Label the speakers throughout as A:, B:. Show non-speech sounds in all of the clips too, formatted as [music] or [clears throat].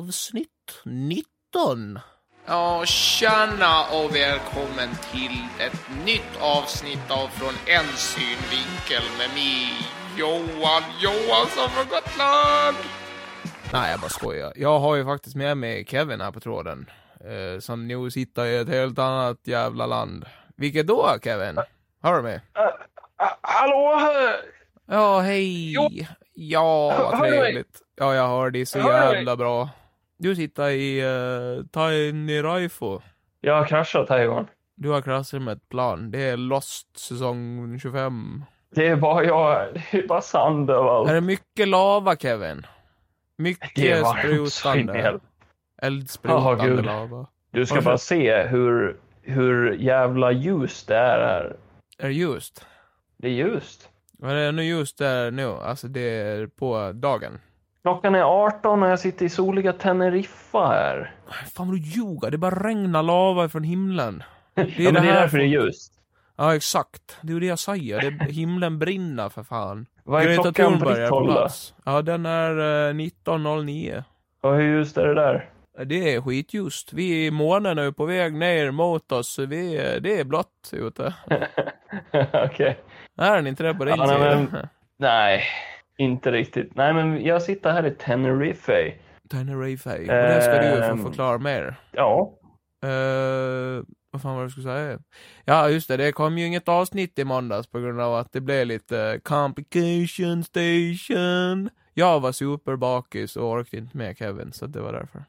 A: avsnitt 19.
B: Ja, tjena och välkommen till ett nytt avsnitt av Från en synvinkel med mig, Johan Johansson från Gotland! Nej, jag bara skojar. Jag har ju faktiskt med mig Kevin här på tråden. Eh, som nu sitter i ett helt annat jävla land. Vilket då, Kevin? Hör du mig?
C: Ah, Hallå! eh.
B: Ja, hej!
C: Jo.
B: Ja, vad
C: Hör du mig?
B: trevligt. Ja, jag hör dig så
C: Hör du mig?
B: jävla bra. Du sitter i uh, Tiny Raifo.
C: Jag har kraschat här Johan.
B: Du har klasser med ett plan. Det är Lost säsong 25.
C: Det är bara jag, det är bara sand
B: Är
C: överallt.
B: det mycket lava, Kevin?
C: Det
B: Mycket
C: var så
B: sprutande.
C: fel. Åh,
B: Eldsprutande
C: gud.
B: lava.
C: Du ska
B: Varför?
C: bara se hur, hur jävla ljust det är här.
B: Är det ljust?
C: Det är ljust.
B: Vad är det nu ljust där nu? Alltså det är på dagen.
C: Klockan är 18 och jag sitter i soliga Teneriffa här.
B: Fan vad du ljuger. Det bara regnar lava från
C: [laughs]
B: himlen.
C: Det är, ja,
B: det
C: men det är
B: här
C: därför det är
B: folk-
C: ljust.
B: Ja, exakt. Det är ju det jag säger. Det
C: [laughs]
B: himlen brinner för fan.
C: Vad är
B: Greta
C: klockan på
B: Thunberg
C: ditt
B: är på
C: håll då?
B: plats. Ja, den är eh, 19.09.
C: Och hur ljust är det där? [laughs]
B: Det är skitljust. Vi är månen är på väg ner mot oss. så Vi är, det är blått ute.
C: Okej.
B: Är den inte det på din
C: Ja, nej,
B: sida? [laughs]
C: Nej, inte riktigt. Nej, men jag sitter här i Tenerife.
B: Tenerife. Och det ska du ju
C: Ehm.
B: få förklara mer.
C: Ja,
B: Eh, vad fan var det jag skulle säga? Ja, just det. Det kom ju inget avsnitt i måndags på grund av att det blev lite complication station. Jag var superbakis och orkade inte med Kevin, så det var därför.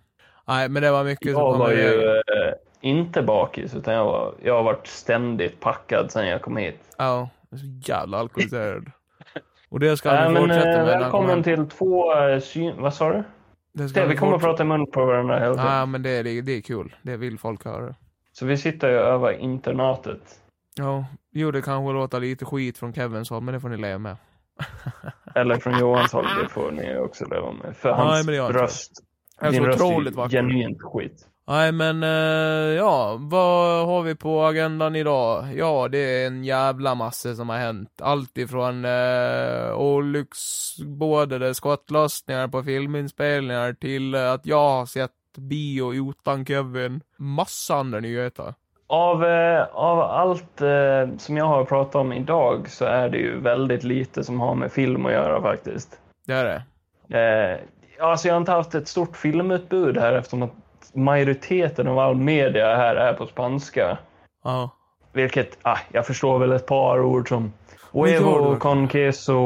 B: Nej, men det var mycket
C: Jag
B: kom
C: var
B: iväg.
C: ju eh, inte bakis, utan jag, var, jag har varit ständigt packad sedan jag kom hit.
B: Ja, jag är så jävla
C: [laughs]
B: alkoholiserad. Och det ska
C: Äh,
B: vi
C: men,
B: fortsätta
C: eh,
B: med. när han kommer
C: välkommen
B: hem.
C: till två eh, syn... Vad sa du?
B: Det ska
C: Det, vi kommer att
B: fortsätta- Ah,
C: prata i mun på varandra hela tiden.
B: Ja, men det är, det är kul. Det vill folk höra.
C: Så vi sitter ju över internatet.
B: Ja, jo, det kanske låter lite skit från Kevins håll, men det får ni leva med.
C: Eller från Johans håll, det får ni också leva med. För
B: Nej,
C: hans
B: men det gör jag inte.
C: röst.
B: Det är
C: Din
B: så
C: röst
B: otroligt
C: är ju
B: vacker.
C: genuint skit.
B: Nej, men eh, ja, vad har vi på agendan idag? Ja, det är en jävla massa som har hänt. Allt ifrån eh, olycksbådade skottlossningar på filminspelningar till eh, att jag har sett bio utan Kevin. Massa andra nyheter.
C: Av, eh, av allt eh, som jag har pratat om idag så är det ju väldigt lite som har med film att göra faktiskt.
B: Det är det.
C: Eh, alltså jag har inte haft ett stort filmutbud här eftersom att majoriteten av all media här är på spanska.
B: Ja.
C: Vilket, ah, jag förstår väl ett par ord som
B: Men gör
C: Huevo,
B: du?
C: Conqueso,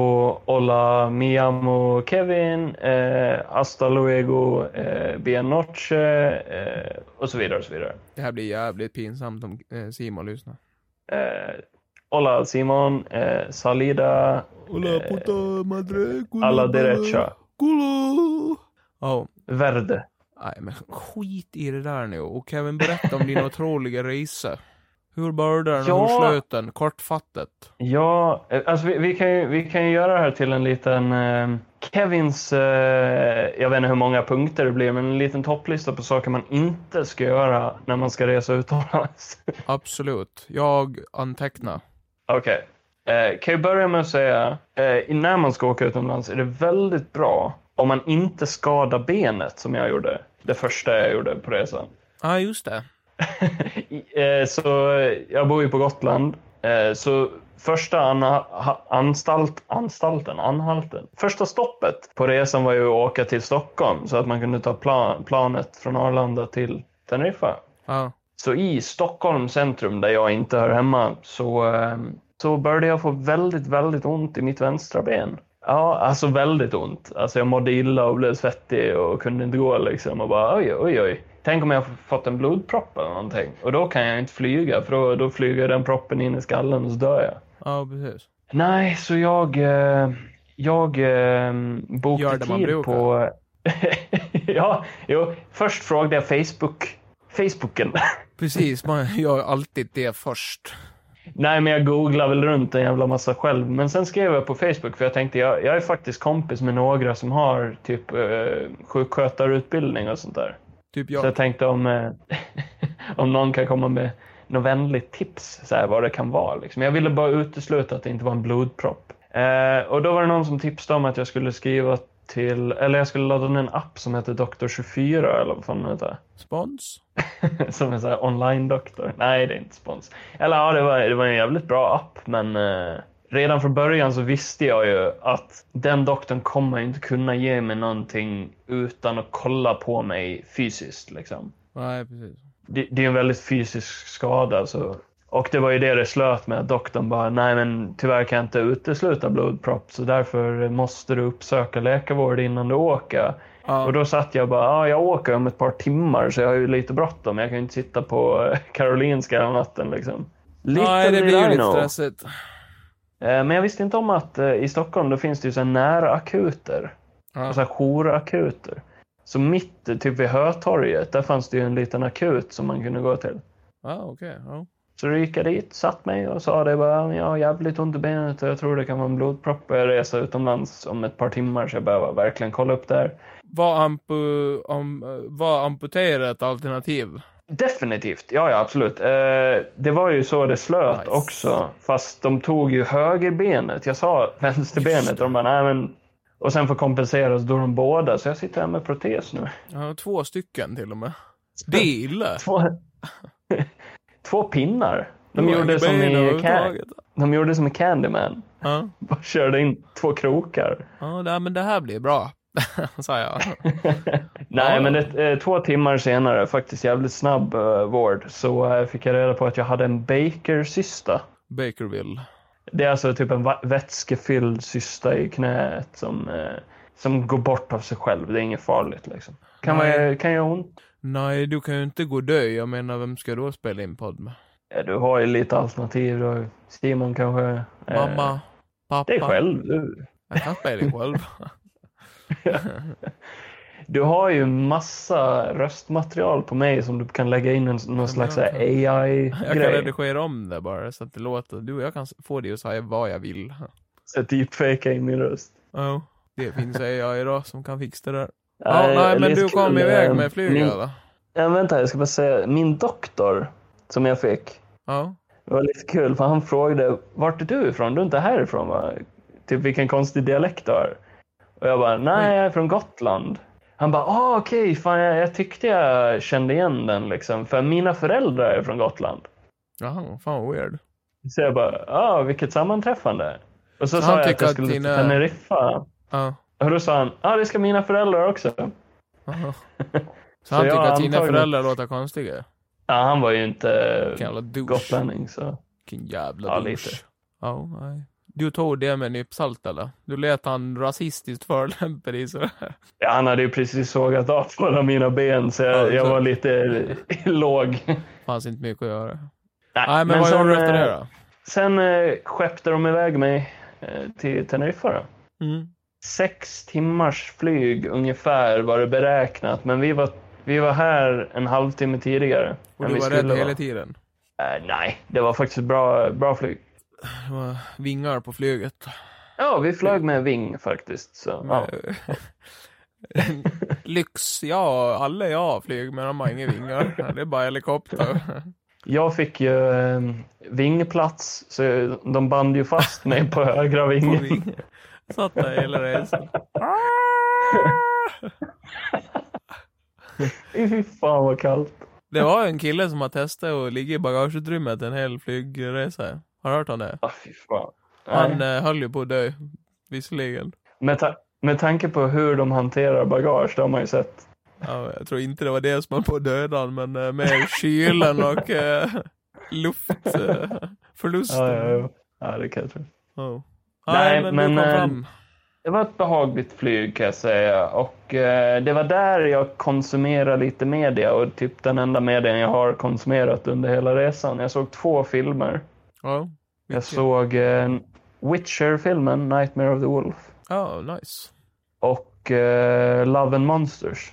C: Hola, mi amo Kevin, eh, Hasta luego, eh, Bien noche eh, och så vidare och så vidare.
B: Det här blir jävligt pinsamt om eh, Simon lyssnar.
C: Eh, hola Simon, eh, Salida,
B: Hola
C: Eh,
B: puta madre, culo,
C: alla derecha,
B: Culo! Ja,
C: Verde.
B: nej men skit i det där nu. Och Kevin, berätta
C: [laughs]
B: om din otroliga resa. Hur började den?
C: Ja.
B: Hur slöt den? Kortfattat.
C: Ja, eh, alltså vi, vi, kan ju, vi kan ju göra det här till en liten eh, Kevins, eh, jag vet inte hur många punkter det blir, men en liten topplista på saker man inte ska göra när man ska resa utomlands. [laughs]
B: Absolut. Jag antecknar.
C: Okej, eh, kan jag börja med att säga, eh, när man ska åka utomlands är det väldigt bra om man inte skadar benet som jag gjorde, det första jag gjorde på resan.
B: Ja, ah, just det.
C: I- eh, Så eh, jag bor ju på Gotland. Eh, Så första an- ha- anstalt, anstalten, anhalten. Första stoppet på resan var ju att åka till Stockholm så att man kunde ta plan, planet från Arlanda till Teneriffa.
B: Ja.
C: Så i Stockholm centrum där jag inte hör hemma så, eh, så började jag få väldigt, väldigt ont i mitt vänstra ben. Ja, alltså väldigt ont. Alltså jag mådde illa och blev svettig och kunde inte gå liksom och bara oj, oj, oj. Tänk om jag fått en blodpropp eller någonting och då kan jag inte flyga för då, då flyger den proppen in i skallen och så dör jag.
B: Ja, precis.
C: Nej, så jag, eh, jag eh,
B: Gör
C: bokade
B: det man
C: tid
B: brukar.
C: på... [laughs] ja, jo, först frågade jag Facebook, Facebooken.
B: Precis, man [laughs] gör alltid det först.
C: Nej, men jag googlade väl runt en jävla massa själv. Men sen skrev jag på Facebook för jag tänkte jag, jag är faktiskt kompis med några som har typ eh, sjukskötarutbildning och sånt där.
B: Typ
C: Så
B: jag.
C: jag tänkte om, eh, [laughs] om någon kan komma med något vänligt tips så här, vad det kan vara. Liksom. Jag ville bara utesluta att det inte var en blodpropp. Eh, och då var det någon som tipsade om att jag skulle skriva till, eller jag skulle ladda ner en app som heter Doktor 24 eller vad fan den heter.
B: Spons?
C: [laughs] som en sån här online-doktor. Nej, det är inte spons. Eller ja, det var, det var en jävligt bra app, men eh, redan från början så visste jag ju att den doktorn kommer inte kunna ge mig någonting utan att kolla på mig fysiskt liksom.
B: Nej, precis.
C: Det, det är en väldigt fysisk skada så. Och det var ju det det slöt med att doktorn bara, nej men tyvärr kan jag inte utesluta blodpropp så därför måste du uppsöka läkarvård innan du åker.
B: Ja.
C: Och då satt jag bara, ah, jag åker om ett par timmar så jag har ju lite bråttom. Jag kan ju inte sitta på [laughs] eh, Karolinska hela natten liksom. Lite
B: Nej, det blir ju lite
C: know.
B: stressigt.
C: Eh, Men jag visste inte om att eh, i Stockholm då finns det ju så här nära akuter.
B: Ja.
C: Alltså jourakuter. Så mitt, eh, typ vid Hötorget, där fanns det ju en liten akut som man kunde gå till.
B: Ja, okej. Ja.
C: Så då gick jag dit, satt mig och sa det bara, jag har jävligt ont i benet och jag tror det kan vara en blodpropp och jag reser utomlands om ett par timmar så jag behöver verkligen kolla upp det här.
B: Var, ampu, am, var amputera ett alternativ?
C: Definitivt, ja, ja absolut. Eh, det var ju så det slöt
B: Nice.
C: också. Fast de tog ju högerbenet. Jag sa vänsterbenet och de bara, nej men... Och sen för att kompensera så dog de båda. Så jag sitter här med protes nu. [laughs]
B: Ja, två stycken till och med. Det är illa.
C: Två, [laughs] Två pinnar. De
B: Det var
C: gjorde,
B: inget
C: som
B: ben
C: i Can-
B: överhuvudtaget.
C: de gjorde som i Candyman. [laughs]
B: Ja.
C: Bara körde in två krokar.
B: Ja, nej, men det här blir bra. [laughs] Sa jag.
C: Nej,
B: Ja.
C: men det, eh, två timmar senare, faktiskt jävligt snabb eh, vård, så eh, fick jag reda på att jag hade en Baker-cysta.
B: Bakerville.
C: Det är alltså typ en va- vätskefylld cysta i knät som, eh, som går bort av sig själv. Det är inget farligt liksom. Kan, man,
B: Nej.
C: kan göra ont?
B: Nej, du kan ju inte gå och dö. Jag menar, vem ska då spela in podd med?
C: Ja, du har ju lite alternativ. Då. Simon kanske... eh,
B: Mamma? Pappa?
C: Det är själv du.
B: Jag kan spela in
C: [laughs]
B: själv.
C: Du har ju massa röstmaterial på mig som du kan lägga in en, någon slags så här
B: [laughs] Jag kan
C: AI-grej.
B: redigera om det bara så att det låter... Du och jag kan s- få det att säga vad jag vill.
C: Så deepfakea in min röst.
B: Ja, Oh, det finns AI idag som kan fixa det där.
C: Eh,
B: Ja, nej, men
C: det är
B: du
C: så
B: kom
C: kul.
B: iväg
C: Eh,
B: med flyg
C: min-
B: eller?
C: Ja, vänta, jag ska bara säga. Min doktor som jag fick.
B: Ja.
C: Det var lite kul för han frågade vart är du ifrån? Du är inte härifrån va? Typ vilken konstig dialekt du har. Och jag bara nej, jag är från Gotland. Han bara ah, okej, fan jag, jag tyckte jag kände igen den liksom för mina föräldrar är från Gotland.
B: Jaha, fan vad weird.
C: Så jag bara ah, vilket sammanträffande. Och så
B: Så han
C: sa jag att
B: tycker
C: jag
B: att
C: skulle
B: dina-
C: till Teneriffa.
B: Ja.
C: [laughs] Och då sa han ah, det ska mina föräldrar också.
B: Aha. Så
C: Så
B: han
C: jag
B: tycker att dina
C: antagligen-
B: föräldrar låter konstiga?
C: Ja, han var ju inte
B: Vilken jävla douche.
C: gotlänning så.
B: Vilken jävla
C: Ja, lite.
B: douche. Ja, nej. Du tog det med en nypsalt eller? Du lät han rasistiskt [laughs] förolämpa dig sådär.
C: Ja, han hade ju precis sågat av [laughs] båda mina ben så
B: Ja,
C: jag, jag
B: så-
C: var lite [laughs] låg.
B: Fanns inte mycket att göra.
C: Nej,
B: Nej, men, vad gjorde du efter
C: eh,
B: det då?
C: Sen eh, skeppte de iväg mig eh, till Teneriffa. Då.
B: Mm.
C: Sex timmars flyg ungefär var det beräknat, men vi var, vi var här en halvtimme tidigare.
B: Och
C: än
B: du
C: vi
B: var
C: skulle
B: rädd
C: vara.
B: hela tiden?
C: Eh, nej, det var faktiskt bra, bra flyg.
B: Det var vingar på flyget.
C: Ja, vi flög med Ving faktiskt. Så, ja.
B: [laughs] Lyx, ja, alla jag har flyg men de har inga
C: [laughs]
B: vingar. Det är bara helikopter.
C: Jag fick ju eh, vingplats, så de band ju fast mig på [laughs] högra
B: på
C: vingen.
B: vingen. Satt där hela
C: [laughs]
B: resan.
C: Fy fan vad kallt.
B: Det var en kille som har testat att ligga i bagageutrymmet en hel flygresa. Har du hört om det?
C: Ah, fy fan.
B: Han
C: Nej.
B: eh, höll ju på att dö. Visserligen.
C: Med, ta- med tanke på hur de hanterar bagage, det har man ju sett.
B: Ja, jag tror inte det var det som höll på att döda han, men eh,
C: [laughs]
B: med kylen och eh, luftförlusten. Eh,
C: Ja, ja,
B: förlusten.
C: ja. Mm. ja det kan jag tro.
B: Ja.
C: Nej,
B: Nej, men,
C: men,
B: du kom
C: eh,
B: fram.
C: Det var ett behagligt flyg kan jag säga och eh, det var där jag konsumerade lite media och typ den enda medien jag har konsumerat under hela resan. Jag såg två filmer.
B: Ja,
C: Jag såg eh, Witcher-filmen Nightmare of the Wolf
B: ja, nice.
C: och eh, Love and Monsters.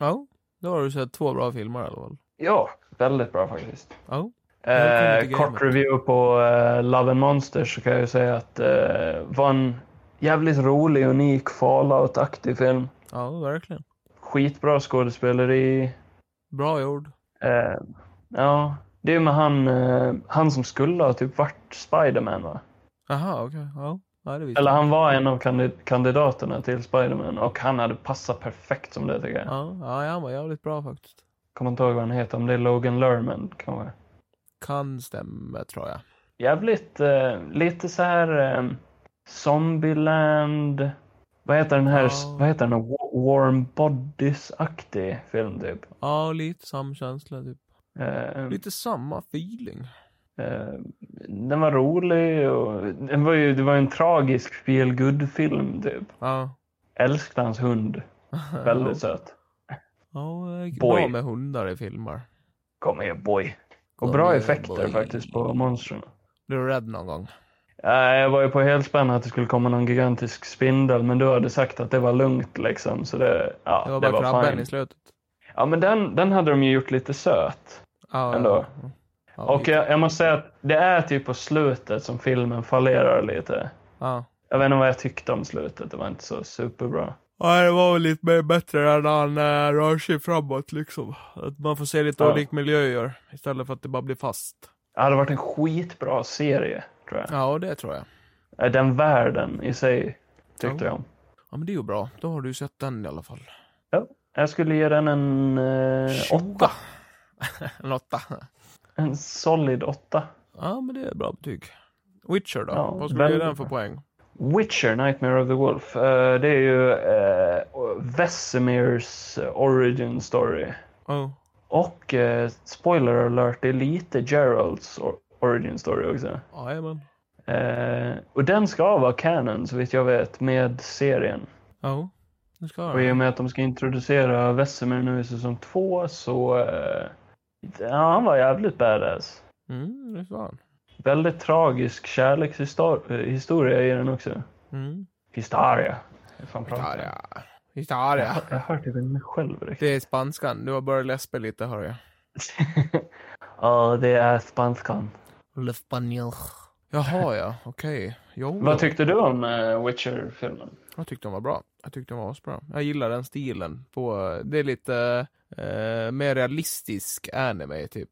B: Ja, då har du sett två bra filmer i alla fall.
C: Ja, väldigt bra faktiskt.
B: Ja, Välkommen
C: Eh,
B: till
C: kort
B: gamet.
C: review på eh, Love and Monsters så kan jag ju säga att eh, var en jävligt rolig, unik, Fallout-aktig film.
B: ja verkligen.
C: Skitbra skådespeleri.
B: Bra gjord.
C: Eh, ja, det är ju med han, eh, han som skulle ha typ varit Spiderman va?
B: Aha, okej. Ja. Nej, det visste
C: Eller
B: jag.
C: han var en av kandi- kandidaterna till Spiderman och han hade passat perfekt som det tycker jag.
B: Ja, ja, han var jävligt bra faktiskt.
C: Kommer inte ihåg vad han heter, om det är Logan Lerman kanske.
B: Kan stämma, tror jag.
C: Jävligt, eh, lite så här eh, Zombieland. Vad heter den här,
B: Ja.
C: vad heter den här Wa- Warm Bodies-aktig film typ?
B: Ja, lite samma känsla typ.
C: Eh,
B: Lite samma feeling.
C: eh, den var rolig och den var ju, det var ju en tragisk feel good film typ.
B: Ja.
C: Älskade hans hund, väldigt söt.
B: Ja, det gick
C: Boy.
B: bra med hundar i filmer.
C: Kom igen boy. Och
B: Kom
C: bra
B: igen,
C: effekter
B: boy.
C: faktiskt på monstren.
B: Blev du rädd någon gång?
C: Nej, jag var ju på helspänn att det skulle komma någon gigantisk spindel, men du hade sagt att det var lugnt liksom, så det, ja,
B: Det var
C: det
B: bara
C: var
B: krabben i
C: fine.
B: slutet.
C: Ja, men den, den hade de ju gjort lite söt.
B: Ja,
C: Ändå.
B: ja. Ja,
C: Och jag, jag måste säga att det är typ på slutet som filmen fallerar lite.
B: Ja.
C: Jag vet inte vad jag tyckte om slutet, det var inte så superbra.
B: Ja, det var väl lite mer bättre än han eh, rör sig framåt liksom. Att man får se lite
C: Ja.
B: olika miljöer istället för att det bara blir fast.
C: Det hade varit en skitbra serie, tror jag.
B: Ja, det tror jag.
C: Eh, Den världen i sig
B: Ja.
C: tyckte jag om.
B: Ja, men det är ju bra. Då har du ju sett den i alla fall.
C: Jag skulle ge den en eh, åtta.
B: [laughs] en åtta.
C: En solid åtta.
B: Ja, men det är bra betyg. Witcher då?
C: Ja,
B: Vad skulle du ge
C: väldigt
B: den för
C: bra.
B: poäng?
C: Witcher, Nightmare of the Wolf. eh, det är ju eh, Vesemirs origin story.
B: Ja.
C: Och eh, spoiler alert, det är lite Geralds or- origin story också.
B: Jajamän.
C: Eh, och den ska vara canon så vitt jag vet med serien.
B: Ja, det ska
C: Och i och
B: jag.
C: med att de ska introducera Vesemir nu i säsong två så... Eh, ja, han var jävligt badass.
B: Mm, det ska han.
C: Väldigt tragisk kärlekshistoria historia i den också.
B: Mm.
C: Historia. Hur fan pratar jag?
B: Historia. Historia.
C: Jag hör typ inte mig själv
B: [laughs] Det
C: riktigt.
B: är spanskan. Du har börjat läspa lite, hör jag.
C: [laughs] Ja, det är spanskan.
B: L'espanol. Jaha, ja. Okej. Jo,
C: Vad tyckte du om eh, Witcher-filmen?
B: jag tyckte den var bra. Jag tyckte den var asbra. Jag gillar den stilen. På, det är lite eh, mer realistisk anime, typ.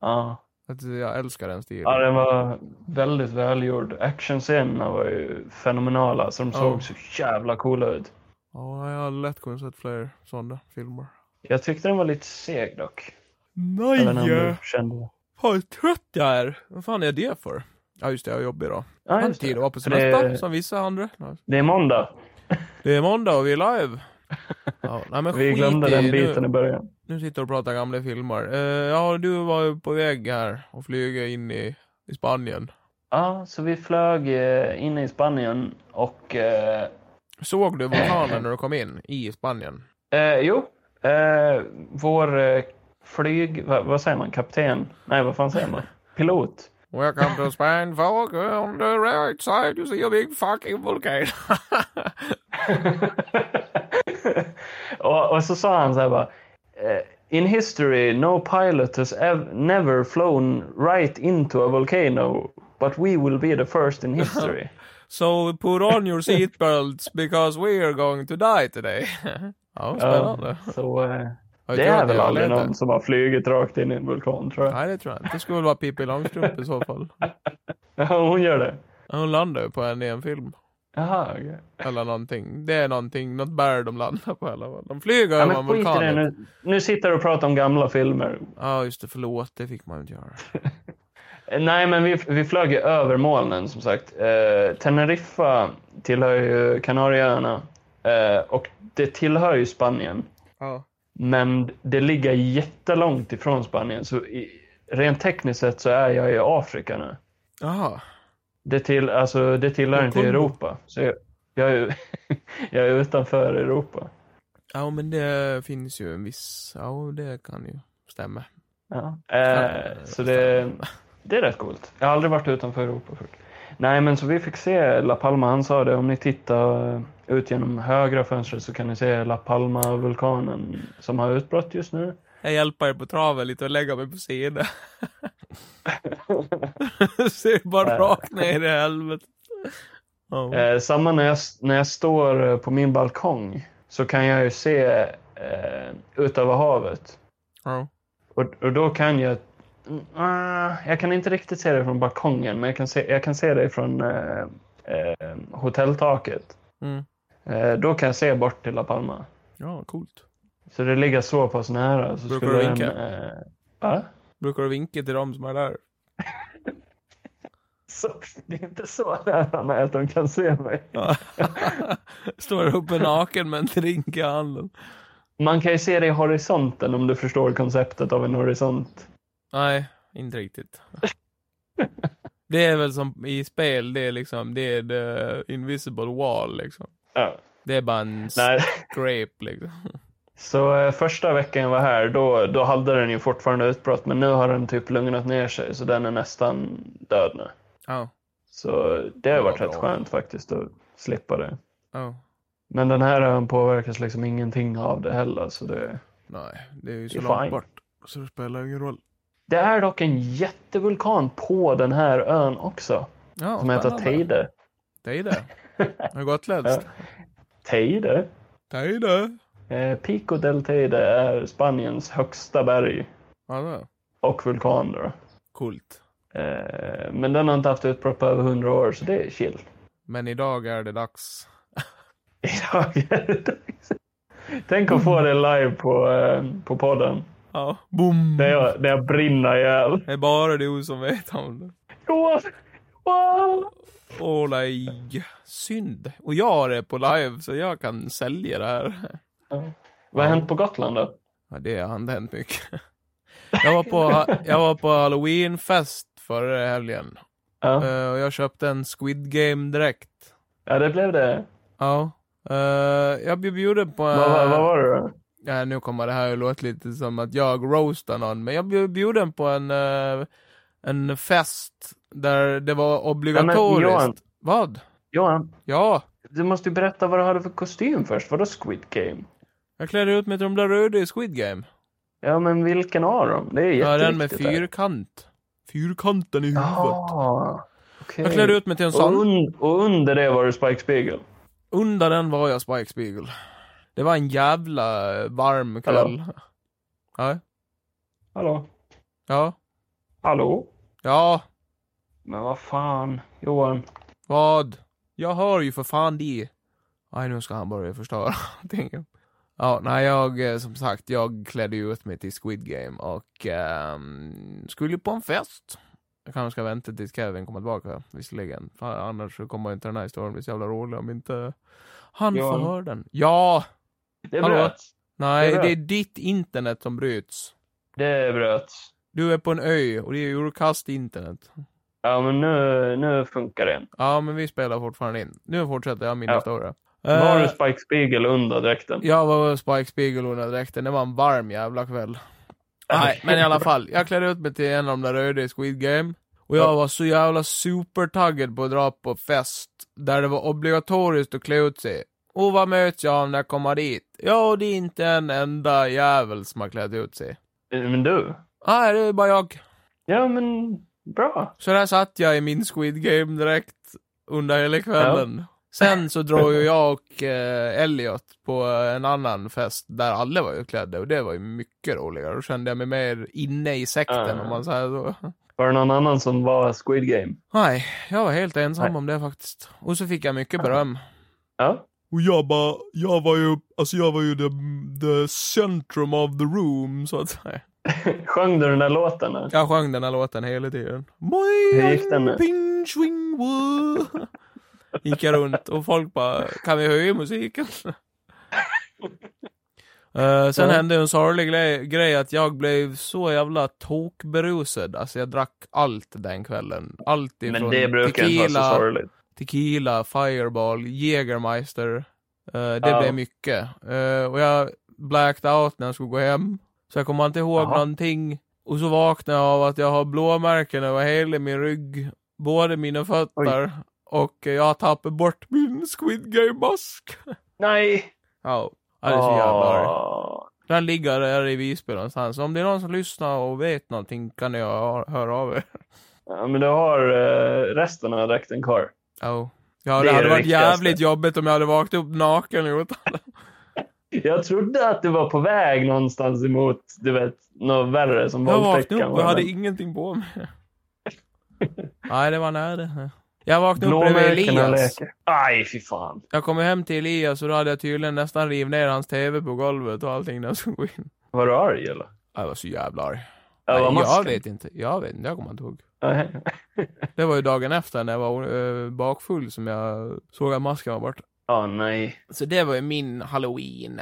C: Ja,
B: Att jag älskar den stilen.
C: ja den var väldigt välgjord. Actionscenerna var ju fenomenala, så de
B: Ja.
C: såg så jävla coola ut.
B: Ja, jag har lätt kunnat sett fler sådana filmer.
C: Jag tyckte den var lite seg dock. Jag vet inte om du
B: Nej!
C: kände det.
B: Fan, vad trött jag är. Vad fan är det för? Ja, just det. Jag jobbar idag. Jag
C: Ja,
B: har
C: just
B: inte tid
C: det.
B: att vara på
C: För det är-
B: semester, som vissa andra. Nej.
C: det är måndag.
B: Det är måndag och vi är
C: [laughs]
B: live. Ja, nej, men
C: Vi glömde
B: skit i-
C: den biten
B: Nu,
C: i början.
B: nu sitter du och pratar gamla filmer. Eh, ja, du var ju på väg här och flyga in i, i Spanien.
C: Ja, så vi flög eh, in i Spanien och... Eh,
B: Såg du vulkanen när du kom in i Spanien?
C: eh, jo, eh, vår eh, flyg... Va, vad säger man? Kapten? Nej, vad fan säger man? Pilot.
B: Welcome to Spain, folk. On the right side you see a big fucking volcano.
C: [laughs] och, och så sa han så här bara. eh, In history, no pilot has ev- never flown right into a volcano, but we will be the first in history.
B: [laughs] so put on your seatbelts because we are going to die today. [laughs] ja, [laughs] spännande.
C: så eh,
B: Ja,
C: det är väl aldrig
B: det.
C: någon som har flugit rakt in i en vulkan, tror jag.
B: Nej, det tror jag inte. Det skulle väl vara Pippi Långstrump i så fall.
C: Ja, [laughs] hon gör det.
B: Hon landar ju på en i en film.
C: Jaha, okej.
B: Eller någonting. Det är någonting, något berg de landar på i alla fall. De flyger
C: Ja,
B: över en
C: men skit i det
B: vulkan. Ja,
C: nu. Nu sitter du och pratar om gamla filmer.
B: just det. Förlåt, det fick man ju inte göra.
C: Eh, Nej, men vi, vi flög ju över molnen som sagt. Eh, Teneriffa tillhör ju Kanarieöarna eh, och det tillhör ju Spanien.
B: Ja.
C: Men det ligger jättelångt ifrån Spanien så i, rent tekniskt sett så är jag i Afrika nu.
B: Jaha.
C: Det, till, alltså, det tillhör
B: Men
C: inte
B: kom-
C: Europa. Så jag, jag, är, ju- [laughs] jag är utanför Europa.
B: Ja, men det finns ju en viss... Ja, det kan ju stämma.
C: Ja. Eh, så det, det är rätt coolt. Jag har aldrig varit utanför Europa förut. Nej, men så vi fick se La Palma. Han sa det, om ni tittar eh, ut genom högra fönstret så kan ni se La Palma-vulkanen som har utbrott just nu.
B: Jag hjälper er på traven lite och lägger mig på sidan. [laughs] Ser bara rakt ner i helvetet. Ja.
C: Eh, samma när jag, när jag står eh, på min balkong så kan jag ju se eh, ut över havet.
B: Ja.
C: Och, och då kan jag... Mm, ah, jag kan inte riktigt se det från balkongen, men jag kan se, jag kan se det från eh, eh, eh, hotelltaket.
B: Mm.
C: Eh, då kan jag se bort till La Palma.
B: Ja, coolt.
C: Så det ligger så pass nära. Så
B: Brukar
C: skulle
B: du
C: en,
B: vinka?
C: eh, va?
B: Brukar du vinka till dem som är där?
C: Så, det är inte så nära mig att de kan se mig. [laughs]
B: Ja. [laughs] Står uppe naken med en drink i handen.
C: Man kan ju se det i horisonten om du förstår konceptet av en horisont.
B: Nej, inte riktigt. [laughs] Det är väl som i spel, det är liksom, det är the invisible wall liksom.
C: Ja.
B: Det är bara en
C: Nej.
B: scrape liksom.
C: Så eh, första veckan jag var här, då, då hade den ju fortfarande utbrott, men nu har den typ lugnat ner sig, så den är nästan död nu.
B: Ja,
C: Så det har
B: Det var
C: varit rätt
B: bra.
C: skönt faktiskt att slippa det.
B: ja.
C: Men den här ön påverkas liksom ingenting av det heller, så det...
B: Nej, det är ju så
C: Det är
B: långt
C: fine.
B: bort. Så det spelar ingen roll.
C: Det är dock en jättevulkan på den här ön också,
B: Ja,
C: som heter
B: spännande.
C: Teide. [laughs]
B: Teide. Ja, Gotländskt.
C: Teide?
B: Teide.
C: Eh, Pico del Teide är Spaniens högsta berg
B: Ja, det är
C: och vulkan. Då.
B: coolt.
C: Eh, men den har inte haft utbrott på över 100 år, så det är chill.
B: Men idag är det dags.
C: Idag är det dags. [laughs] Tänk att få det live på, eh, på podden.
B: Ja, boom.
C: När jag, när jag brinner ihjäl.
B: Det är bara du som vet om det.
C: Johan! Johan!
B: Åh nej, synd. Och jag har det på live så jag kan sälja det här.
C: Vad har hänt på Gotland då?
B: Ja, det har inte hänt mycket. [laughs] Jag var på, jag var på halloweenfest förra helgen.
C: Ja,
B: Eh, Och jag köpte en Squid Game-dräkt.
C: ja det blev det.
B: Ja. Eh, jag blev bjuden på...
C: Vad, vad, vad var det då?
B: Ja, nu kommer det här att låta lite som att jag roastar någon, men jag blev bjuden på en, eh, en fest där det var obligatoriskt.
C: Johan.
B: Vad?
C: Johan,
B: Ja,
C: du måste ju berätta vad du hade för kostym först. Vadå Squid Game?
B: jag klädde ut mig till de där röda i Squid Game.
C: Ja, men vilken av dem? Det är ju
B: Ja,
C: jätteviktigt.
B: den med fyrkant. Fyrkanten i huvudet.
C: Ja, Ah, okej.
B: Jag klädde ut mig till en
C: och,
B: sån.
C: un- och under det var det Spike Spiegel.
B: Under den var jag Spike Spiegel. Det var en jävla eh, varm kväll. Ja,
C: Hallå?
B: ja,
C: Hallå?
B: ja,
C: Men vad fan, Johan.
B: Vad? Jag hör ju för fan det. Nej, nu ska han börja förstöra, [laughs] tänker jag. Ja, nej, jag, eh, som sagt, jag klädde ju ut mig till Squid Game och ehm, skulle på en fest. Jag kanske ska vänta tills Kevin kommer tillbaka, visserligen. För Annars så kommer inte den här historien bli så jävla rolig om inte han
C: Johan.
B: får höra den. Ja!
C: Det
B: Hallå?
C: bröts.
B: Nej,
C: Det är
B: det
C: det.
B: är ditt internet som bryts.
C: Det bröts.
B: Du är på en ö och det är urkast internet.
C: Ja, men nu, nu funkar det.
B: Ja, men vi spelar fortfarande in. Nu fortsätter jag min
C: Ja.
B: historia.
C: Var
B: Eh,
C: det Spike Spiegel under dräkten?
B: Jag var med Spike Spiegel under dräkten, det var en varm jävla kväll. Nej, men i alla fall. Jag klädde ut mig till en av de där röda i Squid Game. Och jag var så jävla supertaggad på att dra på fest, där det var obligatoriskt att klä ut sig. Och vad möts jag av när jag kommer dit? Ja, det är inte en enda jävel som har klätt ut sig.
C: Eh, Men du?
B: Nej, det är bara jag.
C: Ja, men bra.
B: Så där satt jag i min Squid Game direkt under hela kvällen. Sen så drog ju jag och eh, Elliot på en annan fest där alla var utklädda och det var ju mycket roligare. Då kände jag mig mer inne i sekten
C: Ah.
B: om man säger så.
C: Var det någon annan som var Squid Game?
B: Nej, jag var helt ensam
C: Nej.
B: om det faktiskt. Och så fick jag mycket beröm.
C: Ja.
B: Och jag bara, jag var ju, alltså jag var ju the, the centrum of the room så att säga.
C: Sjöng du den där låten? då?
B: Jag sjöng den här låten hela tiden.
C: Alltså. Hur gick den nu?
B: Ping, swing, woo. [laughs] Gick jag runt och folk bara, kan vi höja musiken? [laughs] Eh, sen
C: Ja.
B: hände en sorglig grej, grej att jag blev så jävla tokberusad. Alltså jag drack allt den kvällen. Allt ifrån
C: Men det brukar inte vara så
B: tequila,
C: sorgligt.
B: tequila, fireball, jägermeister. Eh, det
C: Ja.
B: blev mycket. Eh, och jag blacked out när jag skulle gå hem. Så jag kommer inte ihåg
C: Jaha.
B: någonting. Och så vaknade jag av att jag har blåmärken över hela min rygg. Både mina fötter och eh, jag har tappat bort min Squid Game-mask.
C: Nej!
B: Ja, ja, det är så jävla arg.
C: Åh.
B: Den ligger där i Visby någonstans. Om det är någon som lyssnar och vet någonting kan jag höra av er.
C: Ja, men du har eh, resten av dräkten kvar.
B: Ja, ja det,
C: Det är
B: hade
C: det
B: varit
C: viktigaste.
B: jävligt jobbigt om jag hade vaknat upp naken utan
C: Jag trodde att du var på väg någonstans emot, du vet, något värre som
B: Jag
C: våldtäkt
B: vaknade
C: kan [laughs]
B: upp och jag hade
C: men-
B: ingenting på mig. Nej, det var nära. Jag vaknade upp bredvid
C: Blåmärkena
B: Elias.
C: läker. Aj, fy fan.
B: Jag kom hem till Elias och då hade jag tydligen nästan rivit ner hans TV på golvet och allting när jag skulle gå in.
C: Var du arg eller?
B: Jag var så jävla arg.
C: Ja,
B: Nej,
C: var
B: jag
C: masken?
B: vet inte. Jag vet inte. Jag kommer inte ihåg.
C: Nej.
B: Det var ju dagen efter när jag var eh, bakfull som jag såg att masken var borta.
C: Ja, nej.
B: Så det var ju min halloween.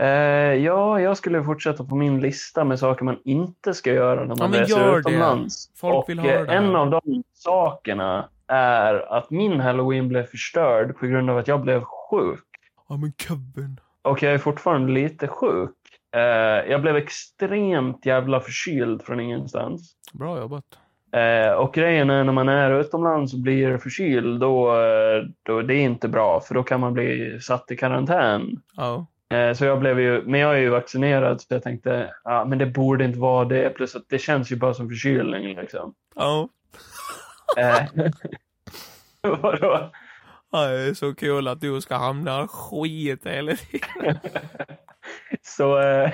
C: Eh, ja, jag skulle fortsätta på min lista med saker man inte ska göra när man
B: men gör
C: reser
B: det.
C: utomlands.
B: Folk
C: och
B: vill höra
C: eh,
B: det här.
C: en av de sakerna är att min halloween blev förstörd på grund av att jag blev sjuk.
B: Ja men Kevin.
C: Och jag är fortfarande lite sjuk. Eh, jag blev extremt jävla förkyld från ingenstans.
B: Bra jobbat.
C: Eh, och grejen är när man är utomlands och blir förkyld, då, eh, då det är inte bra för då kan man bli satt i karantän.
B: Ja.
C: Eh, Så jag blev ju, men jag är ju vaccinerad så jag tänkte, ja men det borde inte vara det. Plus att det känns ju bara som förkylning liksom.
B: Ja.
C: Eh, [laughs] Vadå?
B: Ja, Det är så kul att du ska hamna i skit hela tiden.
C: Så eh,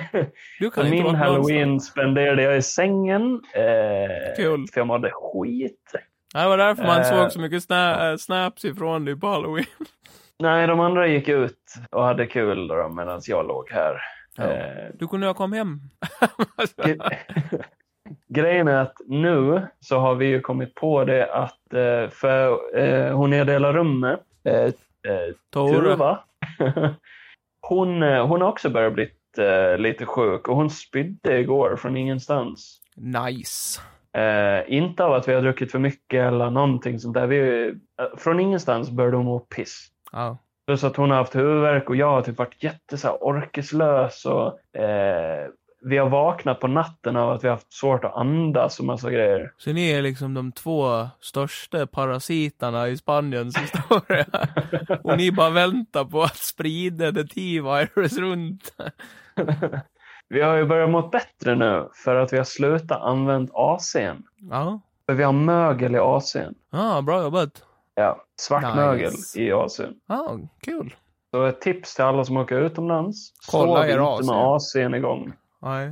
B: Du kan inte
C: min
B: vara någonstans.
C: halloween spenderade jag i sängen. Eh,
B: Kul.
C: För jag mådde skit.
B: Ja, Det var därför man
C: Eh.
B: såg så mycket sna- eh, snaps ifrån dig på halloween.
C: Nej, de andra gick ut och hade kul då, medan jag låg här.
B: Ja.
C: Eh,
B: Du kunde ha kommit
C: [laughs]
B: hem.
C: Gre- [laughs] Grejen är att nu så har vi ju kommit på det att eh, för eh, hon jag delar rum med, eh, eh,
B: Tore.
C: Tuva. [laughs] Hon, eh, hon har också börjat bli eh, lite sjuk och hon spydde igår från ingenstans.
B: Nice.
C: Eh, inte av att vi har druckit för mycket eller någonting sånt där. Vi, eh, från ingenstans började hon må piss.
B: Ja.
C: Plus att hon har haft huvudvärk och jag har typ varit jätte så här, orkeslös och eh, vi har vaknat på natten av att vi har haft svårt att andas och
B: [laughs]
C: massa grejer.
B: Så ni är liksom de två största parasiterna i Spaniens [laughs] historia. Och ni bara väntar på att sprida the T-virus runt.
C: Vi har ju börjat må bättre nu för att vi har slutat använda AC'n.
B: Ja.
C: För vi har mögel i AC'n.
B: Ja, bra jobbat.
C: Ja, svart
B: Nice.
C: mögel i Asien.
B: Ja, kul.
C: Så ett tips till alla som åker utomlands.
B: Kolla
C: sov
B: er
C: inte
B: Asien.
C: med AC'n igång.
B: Nej.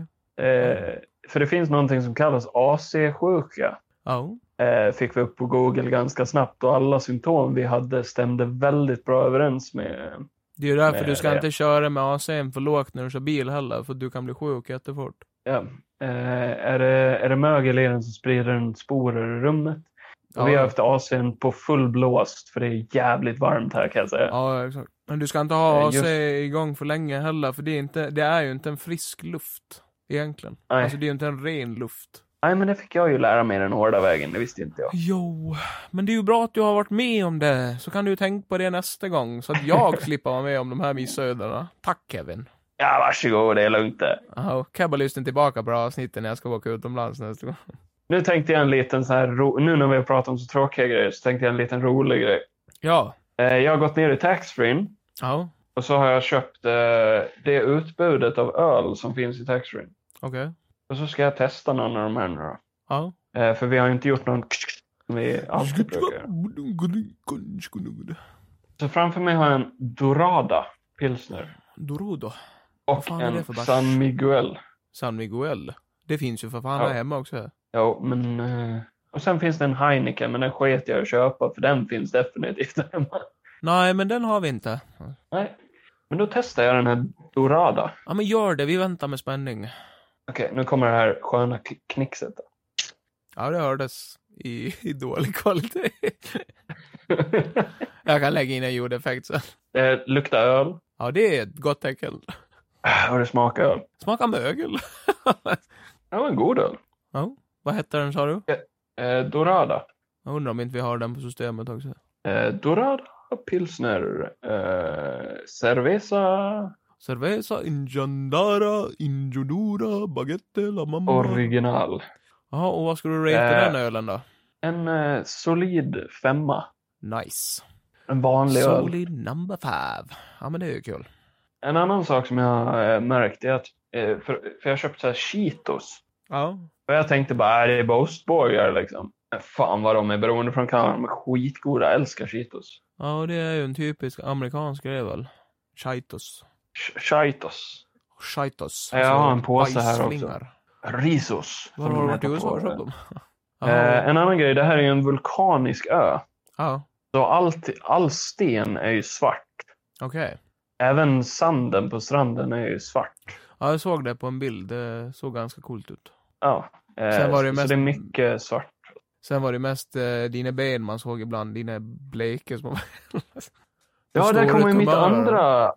C: Eh, för det finns någonting som kallas AC-sjuka.
B: Ja.
C: Eh, fick vi upp på Google ganska snabbt och alla symptom vi hade stämde väldigt bra överens med.
B: Det är ju därför
C: Nej,
B: du ska
C: det-
B: inte köra med AC'n för lågt när du kör bil heller, för du kan bli sjuk jättefort.
C: Ja. Eh, är, det, är det mögel i den som sprider en sporer i rummet? Och vi har
B: Ja.
C: haft AC'n på full blåst för det är jävligt varmt här kan jag [laughs] säga.
B: Ja, exakt. Men du ska inte ha
C: Eh,
B: AC
C: just-
B: igång för länge heller, för det är, inte, det är ju inte en frisk luft egentligen.
C: Nej.
B: Alltså det är ju inte en ren luft.
C: Nej, men det fick jag ju lära mig den hårda vägen, det visste inte jag.
B: Jo, men det är ju bra att du har varit med om det, så kan du tänka på det nästa gång, så att
C: [laughs]
B: jag slipper vara med om de här missödena. Tack Kevin.
C: Ja, varsågod, det är lugnt det.
B: Ja, Kebba lyssnar tillbaka på det här avsnittet när jag ska åka utomlands nästa gång.
C: Nu tänkte jag en liten så här, ro- nu när vi har pratat om så tråkiga grejer så tänkte jag en liten rolig grej.
B: Ja.
C: Eh, jag har gått ner i taxfree
B: Ja,
C: och så har jag köpt eh, det utbudet av öl som finns i taxfree.
B: okej.
C: Och så ska jag testa någon av de här nu då.
B: Ja.
C: Eh, för vi har ju inte gjort någon som vi alltid brukar göra. Så framför mig har jag en Dorada pilsner
B: Dorodo. Vad
C: och
B: fan är det
C: en
B: för bärs?
C: San Miguel.
B: San Miguel. Det finns ju för fan
C: Ja.
B: här hemma också.
C: Jo, men... Eh, och sen finns det en Heineken, men den sket jag i att köpa för den finns definitivt [laughs] där hemma.
B: Nej, men den har vi inte.
C: Nej. Men då testar jag den här Dorada.
B: Ja, men gör det. Vi väntar med spänning.
C: Okej, nu kommer det här sköna k- knixet. då.
B: Ja, det hördes i, i dålig kvalitet. Jag kan lägga in en ljudeffekt sen.
C: det luktar Eh, öl Eh,
B: Ja, det är ett gott tecken.
C: och det smakar öl.
B: Smaka mögel.
C: Det var en god öl.
B: [laughs] Vad hette den, sa du?
C: Eh, Dorada.
B: Jag undrar om inte vi har den på systemet också.
C: Eh, Dorada pilsner. Eh, cerveza
B: Cerveza, injandara, injodora, baguette, la mamma.
C: original.
B: Jaha, och vad ska du rate
C: Eh.
B: den ölen då?
C: En eh, solid femma.
B: Nice.
C: En vanlig öl.
B: Solid number five. Ja, men det är ju kul.
C: En annan sak som jag eh, märkt är att eh, för, för jag köpte så här Cheetos.
B: Ja.
C: Och jag tänkte bara, är det är bara ostbågar liksom? Men Fan vad de är beroende från Kanada. De är skitgoda. Jag älskar Cheetos.
B: Ja, och det är ju en typisk amerikansk grej väl? Chaitos.
C: Ch- Cheetos.
B: Chaitos.
C: Ja, jag har en påse här
B: bajsflingar.
C: Risos.
B: Var
C: som
B: har du
C: de
B: varit i
C: heter
B: USA
C: på,
B: och [laughs]
C: eh,
B: köpt dem?
C: Eh, en annan grej, det här är ju en vulkanisk ö.
B: Ja,
C: Så allt, all sten är ju svart.
B: okej.
C: Även sanden på stranden är ju svart.
B: Ja, jag såg det på en bild. Det såg ganska coolt ut.
C: Ja. Eh,
B: Sen var det ju
C: så
B: mest-
C: det är mycket svart.
B: Sen var det mest eh, dina ben man såg ibland. Dina bleka små
C: Ja,
B: Förstår
C: där kommer
B: du
C: ju mitt
B: tumörer?
C: andra...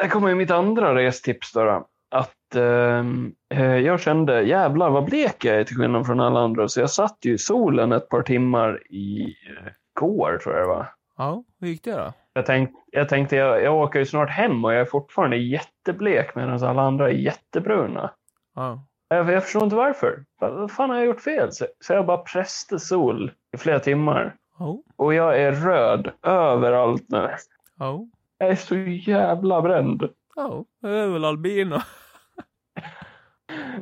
C: Där kommer ju mitt andra restips då. då. Att ehm, eh, jag kände jävlar vad blek jag är till skillnad från alla andra. Så jag satt ju i solen ett par timmar i eh, går tror jag det var.
B: Ja, hur gick det då?
C: Jag, tänk, jag tänkte jag, jag åker ju snart hem och jag är fortfarande jätteblek medan alla andra är jättebruna.
B: Ja,
C: Jag, jag förstår inte varför. Vad- Vad fan har jag gjort fel? Så, så jag bara präste sol i flera timmar.
B: ja,
C: Och jag är röd överallt nu.
B: ja,
C: Jag är så jävla bränd.
B: ja. Jag är väl albino. [laughs]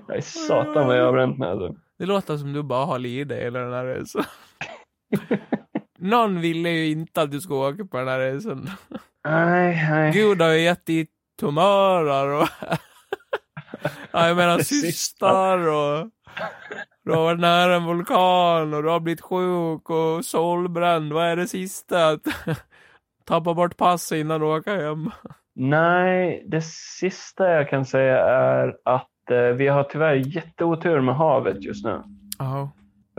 C: Jag är satan vad jag har bränt mig. alltså.
B: Det låter som du bara har lidit hela den här
C: [laughs]
B: resan. Någon ville ju inte att du skulle åka på den här resan.
C: Nej, nej.
B: Gud har ju gett dig tumörer och...
C: [laughs]
B: ja, jag menar
C: Det sista.
B: systrar och... Du har varit nära en vulkan och du har blivit sjuk och solbränd. Vad är det sista? Att [laughs] tappa bort passet innan du åker hem.
C: Nej, det sista jag kan säga är att eh, vi har tyvärr jätteotur med havet just nu. Oh,
B: Ja.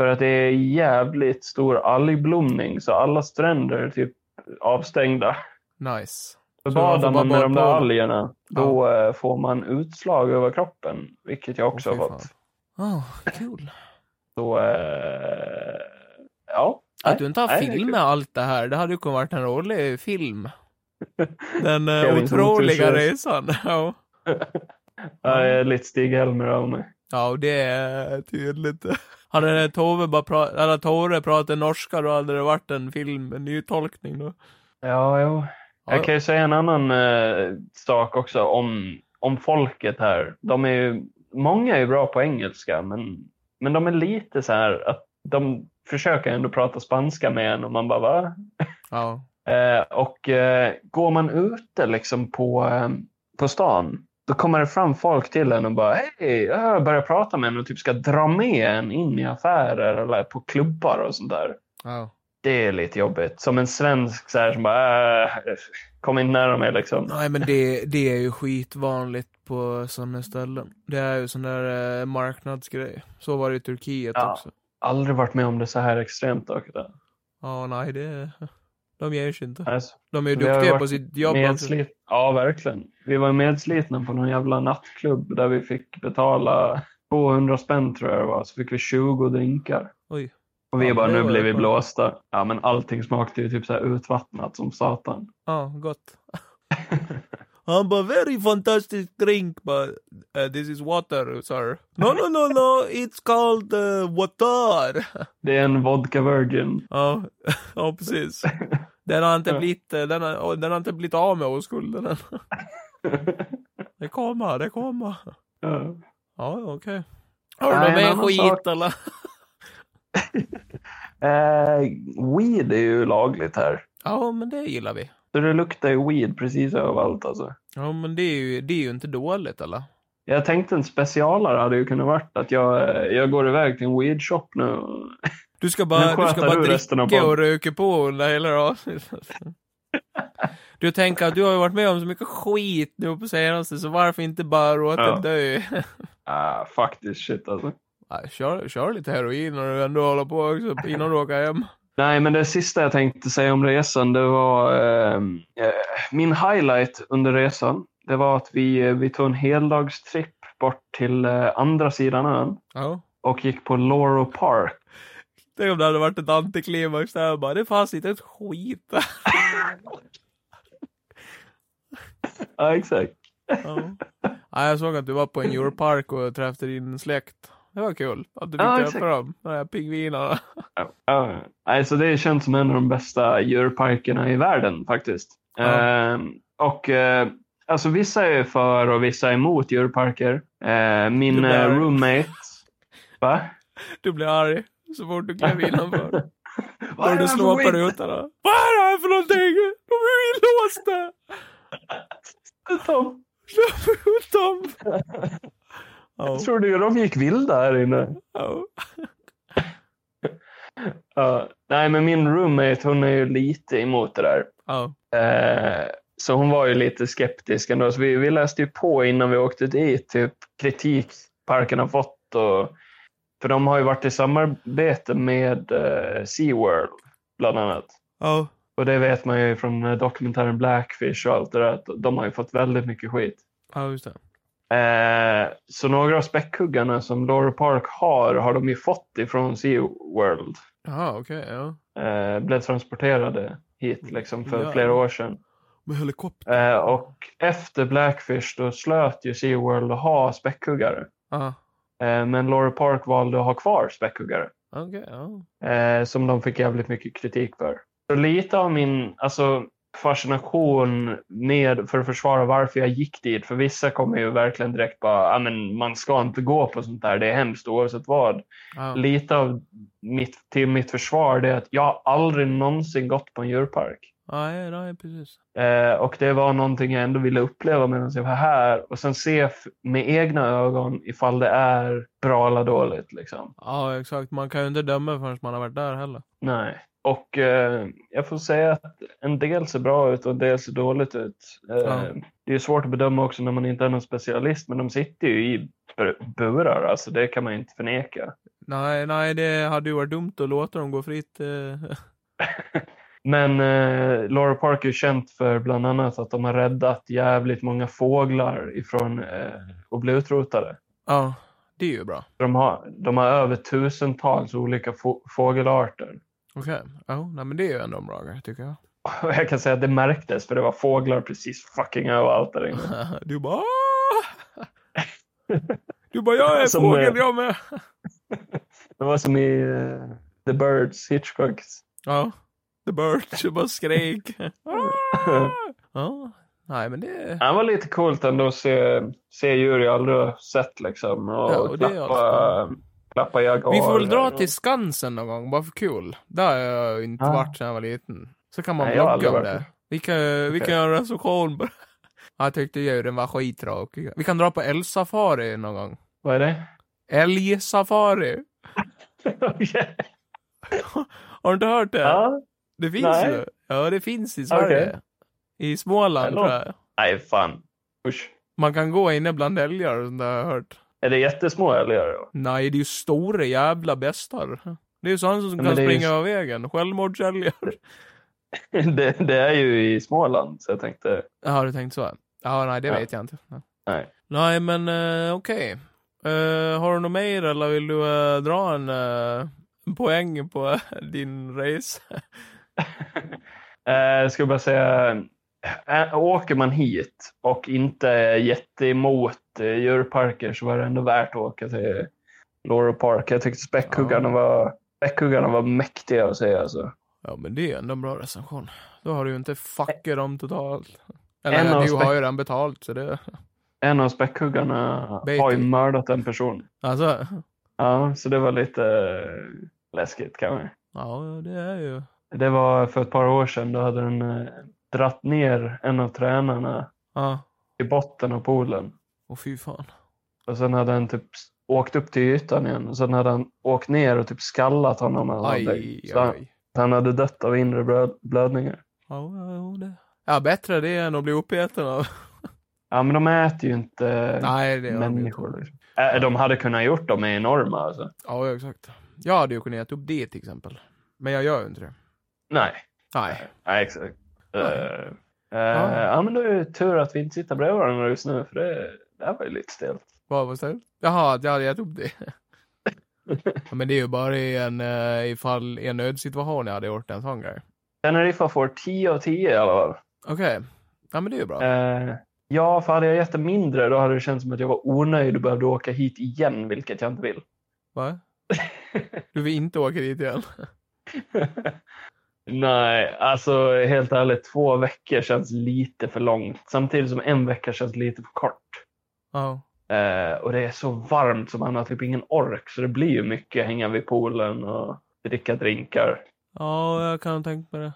C: För att det är jävligt stor algblomning så alla stränder är typ avstängda.
B: Nice.
C: För
B: Så man får
C: badar
B: bara
C: man med de
B: bada
C: där
B: på-
C: algerna, då eh, får man utslag över kroppen, vilket jag också
B: Åh, fy
C: har
B: fan.
C: fått.
B: Oh, kul.
C: Så, eh, ja.
B: Att du inte har
C: Nej, det är
B: film
C: kul.
B: med allt det här, det hade ju kunnat varit en rolig
C: [laughs]
B: film. Den
C: Kevin
B: eh,
C: som
B: otroliga
C: entusiast.
B: resan. [laughs] Ja.
C: Jag är lite Stig-Helmer av mig.
B: ja, och det är tydligt. [laughs] Hade Tove bara pra- hade Tore pratat norska då hade det varit en film, en nytolkning då.
C: Ja, jo.
B: Ja,
C: Jag kan ju säga en annan eh, sak också om, om folket här. De är ju, många är ju bra på engelska, men, men de är lite så här att de försöker ändå prata spanska med en och man bara va?
B: ja.
C: Eh, och eh, går man ute liksom på, eh, på stan, då kommer det fram folk till en och bara hej, jag börjar prata med en och typ ska dra med en in i affärer eller på klubbar och sånt där.
B: ja.
C: Det är lite jobbigt. Som en svensk så här som bara äh, kom inte nära mig liksom.
B: Nej men det, det är ju skitvanligt på sådana ställen. Det är ju sån där eh, marknadsgrej. Så var det i Turkiet
C: Ja.
B: också.
C: Aldrig varit med om det så här extremt dock.
B: Ja, nej det... De ger sig inte.
C: Alltså,
B: De är ju
C: Vi har ju
B: duktiga på
C: varit
B: sitt jobb. alltså.
C: medslit... Ja, verkligen. Vi var medslitna på någon jävla nattklubb där vi fick betala 200 spänn tror jag det var. Så fick vi 20 drinkar.
B: Oj.
C: Och vi
B: Ja,
C: bara,
B: det
C: nu
B: var
C: blir vi
B: skönt.
C: blåsta. Ja, men allting smakade ju typ så här utvattnat som satan. [laughs]
B: Ja, gott. Han bara very fantastic drink but uh, this is water sir. [laughs] No no no no it's called uh, water.
C: Det är en vodka virgin. [laughs]
B: Ja, [laughs] ja precis. Den har inte blivit, eh, den har, oh, den har inte blivit av med oskulden än. Det kommer, det kommer.
C: Ja.
B: Ja, okej. Har du
C: Nej,
B: någon
C: en
B: mer
C: annan
B: skit
C: sak.
B: eller?
C: Eh, weed är ju lagligt här.
B: Ja, men det gillar vi.
C: Så det luktar ju weed precis överallt alltså.
B: Ja, men det är ju, det är ju inte dåligt eller?
C: Jag tänkte en specialare hade ju kunnat varit att jag, eh, jag går iväg till en weedshop nu.
B: Du ska
C: Nu
B: bara, du ska
C: sköter
B: bara
C: du resten av
B: dricka och
C: podden.
B: röka på under hela avsnittet.
C: [laughs]
B: Du tänker att du har ju varit med om så mycket skit nu på senaste, så varför inte bara låta
C: Ja.
B: dö? [laughs]
C: Ah, faktiskt shit alltså.
B: Nej, Kör, kör lite heroin när du ändå håller på också, innan du åker hem.
C: Nej, men det sista jag tänkte säga om resan, det var eh, eh, min highlight under resan. Det var att vi, eh, vi tog en heldagstripp bort till eh, andra sidan ön
B: Ja.
C: och gick på Lauro Park.
B: Tänk om det hade varit ett antiklimax där bara, det fanns inte ett
C: [laughs]
B: skit.
C: Ja, exakt.
B: Ja. Nej, jag såg att du var på en djurpark och träffade din släkt. Det var kul att du fick
C: Ja,
B: träffa
C: exakt.
B: dem, de här pingvinerna.
C: Ja, nej, så det känns som en av de bästa djurparkerna i världen faktiskt.
B: Ja.
C: Ehm, och eh, alltså vissa är för och vissa är emot djurparker. Eh,
B: Du
C: min
B: blir
C: eh,
B: arg.
C: roommate. Va?
B: Du blev arg så fort du
C: [laughs]
B: klev innanför.
C: Vad är
B: Och
C: det
B: du
C: här för
B: slår på
C: skit?
B: rutorna. Vad är det här för någonting? De är ju inlåsta!
C: Tom,
B: Släpp ut dem! Ja,
C: Tror du de gick vilda här inne?
B: ja.
C: Ja, Nej, men min roommate, hon är ju lite emot det där.
B: Ja.
C: Eh, så hon var ju lite skeptisk ändå. Så vi, vi läste ju på innan vi åkte dit, typ kritik parken har fått. Och, för de har ju varit i samarbete med eh, SeaWorld, bland annat.
B: Ja.
C: Och det vet man ju från eh, dokumentären Blackfish och allt det där, att de har ju fått väldigt mycket skit.
B: Ja, just det.
C: Eh, så några av späckhuggarna som Laura Park har, har de ju fått ifrån SeaWorld.
B: Jaha, okej. ja.
C: Eh, blev transporterade hit liksom för
B: Ja.
C: flera år sedan.
B: Med helikopter?
C: Eh, och efter Blackfish då slöt ju SeaWorld att ha späckhuggare.
B: Ja.
C: Eh, men Laura Park valde att ha kvar späckhuggare.
B: Okej, ja.
C: Eh, som de fick jävligt mycket kritik för. Så lite av min alltså, fascination med, för att försvara varför jag gick dit. För vissa kommer ju verkligen direkt bara, ah, men man ska inte gå på sånt där, det är hemskt oavsett vad.
B: Ja.
C: Lite av mitt, till mitt försvar det är att jag har aldrig någonsin gått på en djurpark.
B: Nej, nej, precis.
C: Eh, och det var någonting jag ändå ville uppleva medan jag var här och sen se f- med egna ögon ifall det är bra eller dåligt. Liksom.
B: Ja, exakt. Man kan ju inte döma förrän man har varit där heller.
C: Nej. Och eh, jag får säga att en del ser bra ut och en del ser dåligt ut. Eh,
B: Ja.
C: Det är svårt att bedöma också när man inte är någon specialist, men de sitter ju i bur- burar, alltså det kan man ju inte förneka.
B: Nej, nej, det hade ju varit dumt att låta dem gå fritt. Eh.
C: Men eh, Laura Park är ju känt för bland annat att de har räddat jävligt många fåglar ifrån eh, att bli utrotade.
B: [laughs] Ja, det är ju bra.
C: De har, de har över tusentals olika få, fågelarter.
B: Okej. Ja, nej, men det är ju ändå en bra grej, tycker jag.
C: Och jag kan säga att det märktes för det var fåglar precis fucking överallt där inne.
B: [laughs] Du bara... "Ah!" [laughs] Du bara, jag är
C: Som,
B: fågel
C: eh,
B: jag med.
C: Det var som i eh, The Birds, Hitchcocks.
B: Ja. The bird, du bara [laughs] skrek. Ah! Ja. Nej, men det...
C: Det var lite coolt ändå att se, se djur jag aldrig har sett liksom. Och,
B: Ja, och det är
C: klappa, klappa jaguarer.
B: Vi får väl dra till Skansen någon gång, bara för kul. Där har jag ju inte
C: Ja.
B: varit sedan jag var liten. Så kan man
C: Nej, jag har
B: vlogga om
C: aldrig varit
B: det. Vi kan, vi kan
C: Okej.
B: göra en recension på det. Ja, [laughs] Jag tyckte djuren var skittråkiga. Vi kan dra på älgsafari någon gång.
C: Vad är det?
B: Älgsafari!
C: Okej.
B: Har du inte hört det?
C: [laughs] ja.
B: det finns
C: nej.
B: ju. Ja, det finns i Sverige.
C: Okej.
B: I Småland,
C: Det
B: tror jag.
C: Nej, fan. Usch.
B: Man kan gå inne bland älgar och sånt där, har jag hört.
C: Är det jättesmå älgar? då? [laughs]
B: Nej, det är ju stora jävla bestar. Det är ju sådana som
C: men
B: kan
C: det är ju
B: springa
C: s-
B: av vägen. Självmordsälgar.
C: Det, det är ju i Småland, så jag tänkte...
B: Har du tänkt så? Ja, nej, det
C: Ja.
B: vet jag inte. Nej.
C: Nej.
B: Nej, men eh, okej. Eh, har du något mer eller vill du eh, dra en, eh, en poäng på eh, [laughs] din race?
C: Eh, Jag skulle bara säga, eh, åker man hit och inte är jätteemot eh, djurparker så var det ändå värt att åka till Laura Park. Jag tyckte späckhuggarna
B: Ja.
C: var späckhuggarna var mäktiga att se alltså.
B: Ja, men det är ändå en bra recension. Då har du ju inte fuckat dem totalt.
C: En
B: Eller
C: av
B: du har
C: spec-
B: ju redan betalt, så det... [laughs]
C: En av späckhuggarna har ju
B: Beatty.
C: mördat en person.
B: Alltså,
C: Ja, så det var lite eh, läskigt kanske.
B: ja, det är ju...
C: Det var för ett par år sedan, då hade den eh, dratt ner en av tränarna
B: Ja,
C: i botten av poolen.
B: och fy fan.
C: Och sen hade han typ åkt upp till ytan igen och sen hade han åkt ner och typ skallat honom eller
B: Aj,
C: någonting.
B: aj,
C: Så han,
B: aj.
C: han hade dött av inre blöd, blödningar.
B: Ja, ja, ja, det... Ja, bättre det än att bli uppäten av...
C: Ja, men de äter ju inte
B: Nej, det är
C: människor. Liksom. Äh, de hade kunnat gjort dem är enorma alltså.
B: Ja, ja, exakt. Jag hade ju kunnat äta upp det till exempel. Men jag gör ju inte det.
C: Nej,
B: Nej.
C: nej exakt. Eh, eh,
B: Ja.
C: ja, men då är det tur att vi inte sitter bredvid varandra just nu för det, det här var ju lite stelt.
B: Vad var det? Jaha, att jag hade gett upp det. [laughs] ja, men det är ju bara i en, eh, ifall, i en nödsituation jag hade gjort en sån grej.
C: Teneriffa får 10 av 10 i alla fall.
B: Okej. Ja, men det är ju bra.
C: Eh, ja, för hade jag gett det mindre då hade det känts som att jag var onöjd och behövde åka hit igen, vilket jag inte vill.
B: Va? Du vill inte åka dit igen?
C: [laughs] Nej, alltså helt ärligt, två veckor känns lite för långt. Samtidigt som en vecka känns lite för kort.
B: Ja.
C: Eh, och det är så varmt så man har typ ingen ork, så det blir ju mycket hänga vid poolen och dricka drinkar.
B: Ja, jag kan tänka mig det.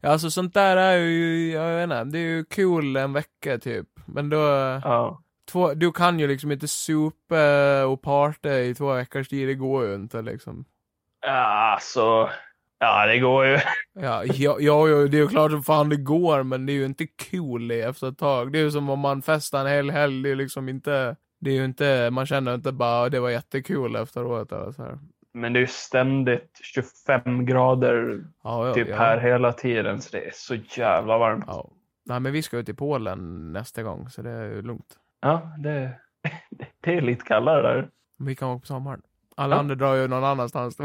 B: Ja, Alltså sånt där är ju, jag vet inte, det är ju kul en vecka typ. Men då,
C: Ja,
B: två, du kan ju liksom inte supa och parta i två veckors tid, det går ju inte liksom.
C: alltså. Ja, det går ju.
B: Ja, ja, ja, ja, det är ju klart som fan det går, men det är ju inte kul det efter ett tag. Det är ju som om man festar en hel helg, det är liksom inte... Det är ju inte, man känner inte bara "Ah, det var jättekul efteråt eller så här.
C: Men det är ju ständigt 25 grader
B: Ja, ja,
C: typ
B: ja.
C: här hela tiden, så det är så jävla varmt.
B: Ja. Nej, men vi ska ut i Polen nästa gång, så det är ju lugnt.
C: Ja, det, [laughs] det är lite kallare där.
B: Men Vi kan åka på sommaren. Alla
C: Ja.
B: andra drar ju någon annanstans. då.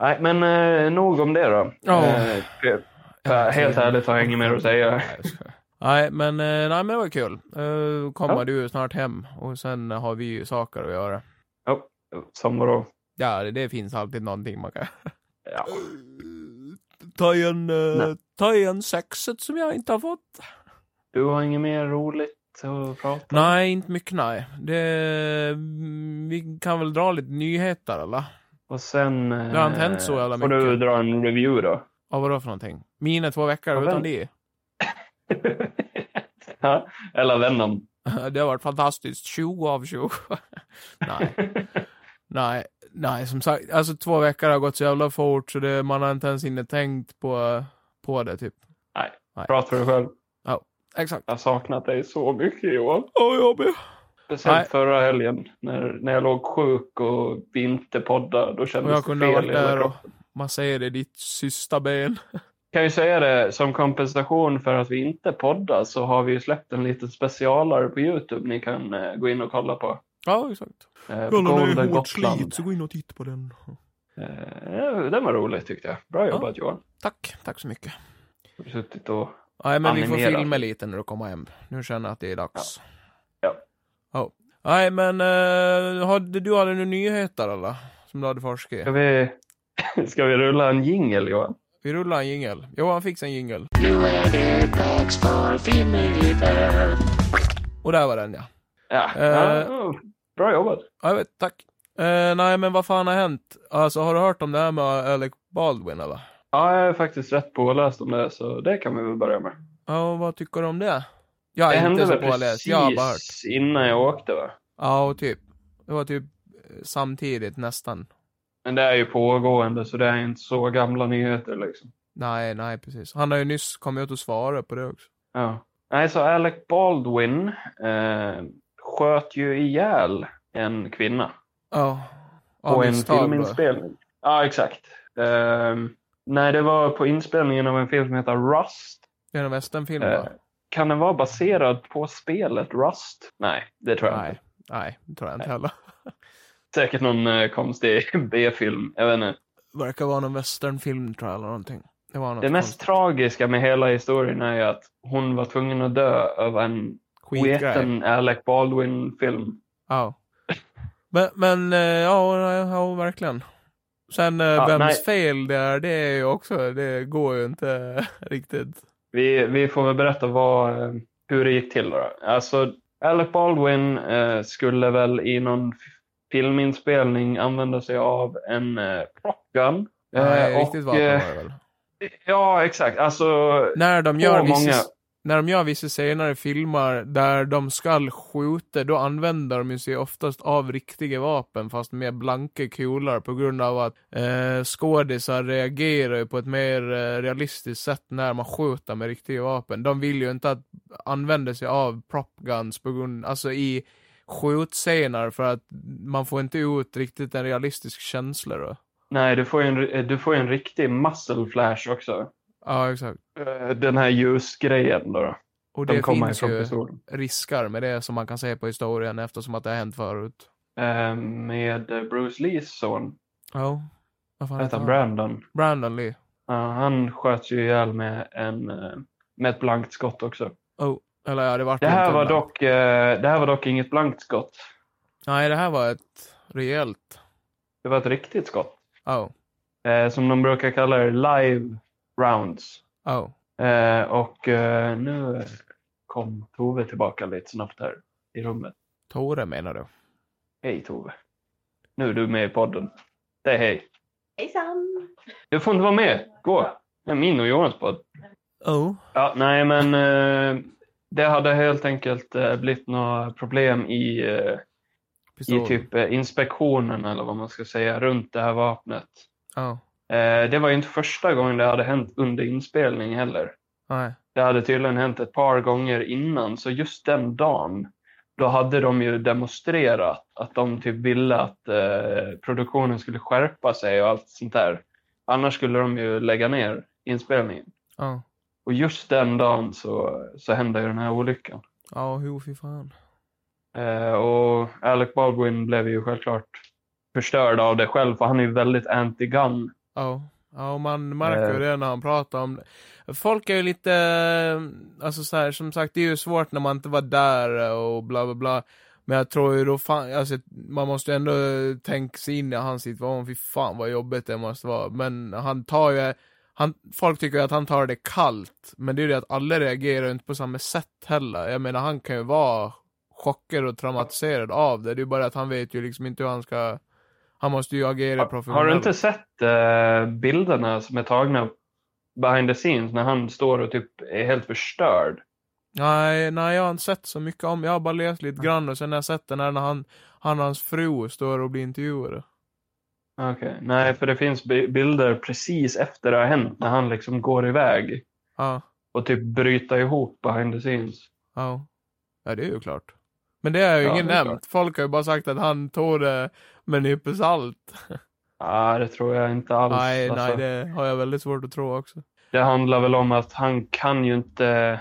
C: Nej, men eh, nog om det då.
B: Ja.
C: Eh, det- Ja, helt ärligt har jag inget mer att säga.
B: Nej, jag skojar. Nej, men, eh, nej, men det var kul. Eh, Kommer
C: Ja.
B: du snart hem och sen har vi ju saker att göra.
C: Som vadå?
B: Ja, det, det finns alltid någonting man kan... [laughs]
C: Ja.
B: Ta igen, eh,
C: Nej.
B: ta igen sexet som jag inte har fått.
C: Du har inget mer roligt att prata om?
B: Nej, inte mycket nej. Det, mm, vi kan väl dra lite nyheter eller?
C: Och sen... eh,
B: Det har inte hänt så jävla
C: Får du
B: mycket.
C: dra en review då? [laughs]
B: Ja, vadå för någonting? Mina två veckor
C: Ja,
B: utan
C: väl.
B: det. [laughs]
C: Ja, Eller Venom.
B: Det har varit fantastiskt. 20 av 20. [laughs]
C: [laughs]
B: nej, nej, nej, som sagt, alltså två veckor har gått så jävla fort så det, man har inte ens hinner tänkt på, på det typ.
C: Prata för dig själv.
B: Exakt.
C: Jag har saknat dig så mycket Johan.
B: Åh, jobbig.
C: Speciellt
B: Nej.
C: förra helgen när, när jag låg sjuk och vi inte poddade. Då
B: Och
C: kändes
B: jag kunde
C: det
B: ha
C: fel.
B: varit
C: i hela
B: där och
C: kroppen.
B: man säger det, ditt sista ben.
C: Kan ju säga det som kompensation för att vi inte poddar så har vi ju släppt en liten specialare på Youtube ni kan eh, gå in och kolla på.
B: Ja, exakt.
C: Eh, på
B: Kolla nu
C: Golden
B: är hårt
C: Gotland.
B: slit, så gå in och titta på den.
C: Eh, den var rolig tyckte jag. Bra jobbat Johan.
B: Tack, tack så mycket.
C: Har du suttit och...
B: Nej, men vi får
C: Animera.
B: filma lite när du kommer hem. Nu känner jag att det är dags.
C: Ja.
B: Ja. Nej, men eh, hade, du hade nu nyheter eller? Som du hade forskat i?
C: Ska vi... [laughs] Ska vi rulla en jingel Johan?
B: Vi rullar en jingel. Johan fixa en jingel. Och där var den ja.
C: Ja.
B: Eh.
C: ja, oh, bra jobbat.
B: Ja, jag vet, tack. Eh, nej, men vad fan har hänt? Alltså, har du hört om det här med Alec Baldwin eller?
C: Ja, jag är faktiskt rätt påläst om det så det kan vi väl börja med.
B: Ja, vad tycker du om det? Jag
C: det
B: är
C: hände
B: inte så
C: väl
B: påläst,
C: precis
B: jag har bara hört.
C: innan jag åkte va?
B: Ja, och typ. Det var typ eh, samtidigt nästan.
C: Men det är ju pågående så det är inte så gamla nyheter liksom.
B: Nej, nej, precis. Han har ju nyss kommit ut och svarat på det också.
C: Ja. Nej, så Alec Baldwin eh, sköt ju ihjäl en kvinna
B: Ja. Av
C: på en
B: misstag då.
C: filminspelning. Ja, exakt. Ehm, nej, det var på inspelningen av en film som heter Rust.
B: Det är en västernfilm
C: Eh,
B: va?
C: kan den vara baserad på spelet Rust? Nej, det tror jag inte.
B: Nej, nej, det tror jag inte heller.
C: Säkert någon eh, konstig [laughs] B-film. Jag vet inte.
B: Verkar vara någon västernfilm tror jag eller någonting. Det var något
C: Det mest
B: konstigt.
C: tragiska med hela historien är ju att hon var tvungen att dö av en
B: skitgrej.
C: sketen Alec Baldwin-film.
B: Ja. Men, men eh, ja, ja, ja, verkligen. Sen eh,
C: Ja,
B: vems
C: nej.
B: fel det är, det är ju också, det går ju inte [laughs] riktigt.
C: Vi, vi får väl berätta vad, eh, hur det gick till då. Alltså, Alec Baldwin eh, skulle väl i någon f- filminspelning använda sig av en eh, plockan.
B: Nej, riktigt vapen
C: eh,
B: var det väl.
C: Ja, exakt. Alltså,
B: När de
C: så
B: gör
C: många...
B: vissa, när de gör vissa senare filmer där de skall skjuta, då använder de ju sig oftast av riktiga vapen fast med blanka kulor på grund av att eh, skådisar reagerar ju på ett mer eh, realistiskt sätt när man skjuter med riktiga vapen. De vill ju inte att använda sig av prop guns på grund, alltså i skjutscener för att man får inte ut riktigt en realistisk känsla då.
C: Nej, du får ju en, eh, du får ju en riktig muscle flash också.
B: Ja, exakt.
C: Eh, Den här ljusgrejen då. då.
B: Och
C: De
B: det
C: kommer
B: finns
C: ifrån
B: ju
C: pistolen.
B: risker med det som man kan se på historien eftersom att det har hänt förut.
C: Eh, med eh, Bruce Lees son.
B: Ja. Vad fan
C: Hette han Brandon?
B: Brandon Lee.
C: Ja, han sköts ju ihjäl med, en, eh, med ett blankt skott också.
B: Oh. Eller ja, det vart
C: Det här,
B: inte
C: var
B: en-
C: dock, eh, det här var dock inget blankt skott.
B: Nej, det här var ett rejält...
C: Det var ett riktigt skott.
B: Oh.
C: Eh, som de brukar kalla det, live rounds.
B: Oh.
C: Eh, och eh, nu kom Tove tillbaka lite snabbt här i rummet.
B: Tore menar du?
C: Hej Tove. Nu är du med i podden. Säg hej.
D: Hejsan!
C: Du får inte vara med. Gå. Det är min och Johans podd.
B: Oh.
C: Ja, nej, men eh, det hade helt enkelt eh, blivit några problem i, eh, i
B: Pistol.
C: typ eh, inspektionen eller vad man ska säga runt det här vapnet.
B: Ja.
C: Eh, det var ju inte första gången det hade hänt under inspelning heller.
B: Nej.
C: Det hade tydligen hänt ett par gånger innan, så just den dagen då hade de ju demonstrerat att de typ ville att eh, produktionen skulle skärpa sig och allt sånt där. Annars skulle de ju lägga ner inspelningen.
B: Ja.
C: Och just den dagen så, så hände ju den här olyckan.
B: Ja, jo fy fan.
C: Eh, och Alec Baldwin blev ju självklart förstörd av det själv, för han är ju väldigt anti-gun.
B: Ja. Ja, och man märker ju
C: Eh.
B: det när han pratar om det. Folk är ju lite, eh, alltså så här, som sagt, det är ju svårt när man inte var där och bla bla bla. Men jag tror ju då fan, alltså man måste ju ändå tänka sig in i hans situation, fy fan vad jobbigt det måste vara. Men han tar ju, han, folk tycker ju att han tar det kallt, men det är ju det att alla reagerar ju inte på samma sätt heller. Jag menar, han kan ju vara chockad och traumatiserad av det, det är ju bara att han vet ju liksom inte hur han ska, han måste ju agera professionellt.
C: Har du inte sett eh, bilderna som är tagna behind the scenes när han står och typ är helt förstörd?
B: Nej, nej, jag har inte sett så mycket om, jag har bara läst lite grann och sen har jag sett den här när han, han och hans fru står och blir intervjuade.
C: Okej, nej för det finns bi- bilder precis efter det har hänt när han liksom går iväg
B: Ja,
C: och typ bryter ihop behind the scenes.
B: ja. Ja, det är ju klart. Men det har ju
C: Ja,
B: ingen
C: det är
B: nämnt. Folk har ju bara sagt att han tog det med en nypa salt.
C: Ah, det tror jag inte alls.
B: Nej,
C: alltså.
B: nej, det har jag väldigt svårt att tro också.
C: det handlar väl om att han kan ju inte...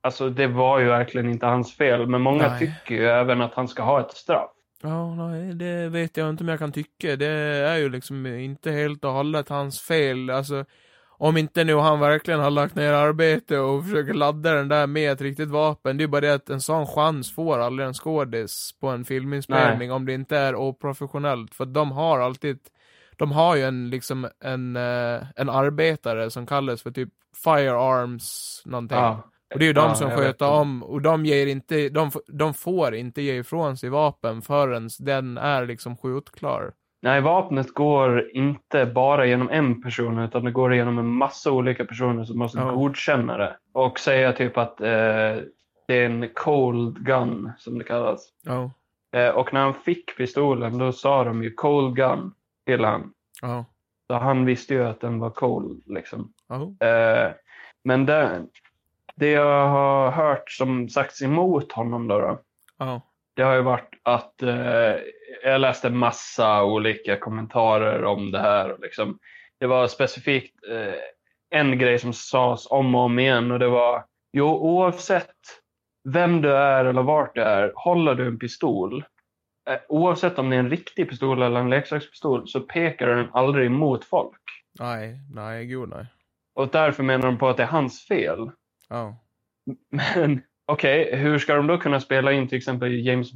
C: Alltså det var ju verkligen inte hans fel, men många
B: Nej.
C: tycker ju även att han ska ha ett straff.
B: Ja, nej, det vet jag inte om jag kan tycka. Det är ju liksom inte helt och hållet hans fel. Alltså, om inte nu han verkligen har lagt ner arbete och försöker ladda den där med ett riktigt vapen. Det är bara det att en sån chans får aldrig en skådis på en filminspelning om det inte är oprofessionellt. För de har alltid, de har ju en liksom en, eh, en arbetare som kallas för typ firearms någonting. Och det är ju de
C: Ja,
B: som
C: jag vet
B: sköter
C: det.
B: om, och de ger inte, de, f- de får inte ge ifrån sig vapen förrän den är liksom skjutklar.
C: Nej, vapnet går inte bara genom en person utan det går genom en massa olika personer som måste
B: Ja.
C: godkänna det. Och säga typ att eh, det är en cold gun som det kallas.
B: Ja.
C: Eh, och när han fick pistolen då sa de ju cold gun till han.
B: Ja.
C: Så han visste ju att den var cold liksom.
B: Ja.
C: Eh, men det, det jag har hört som sagts emot honom då, då
B: Ja.
C: det har ju varit att eh, jag läste massa olika kommentarer om det här. och Liksom. Det var specifikt eh, en grej som sades om och om igen och det var jo, oavsett vem du är eller vart du är, håller du en pistol, eh, oavsett om det är en riktig pistol eller en leksakspistol, så pekar den aldrig emot folk.
B: Nej, nej, gud nej.
C: Och därför menar de på att det är hans fel.
B: Ja.
C: Men [clears throat] okej, hur ska de då kunna spela in till exempel James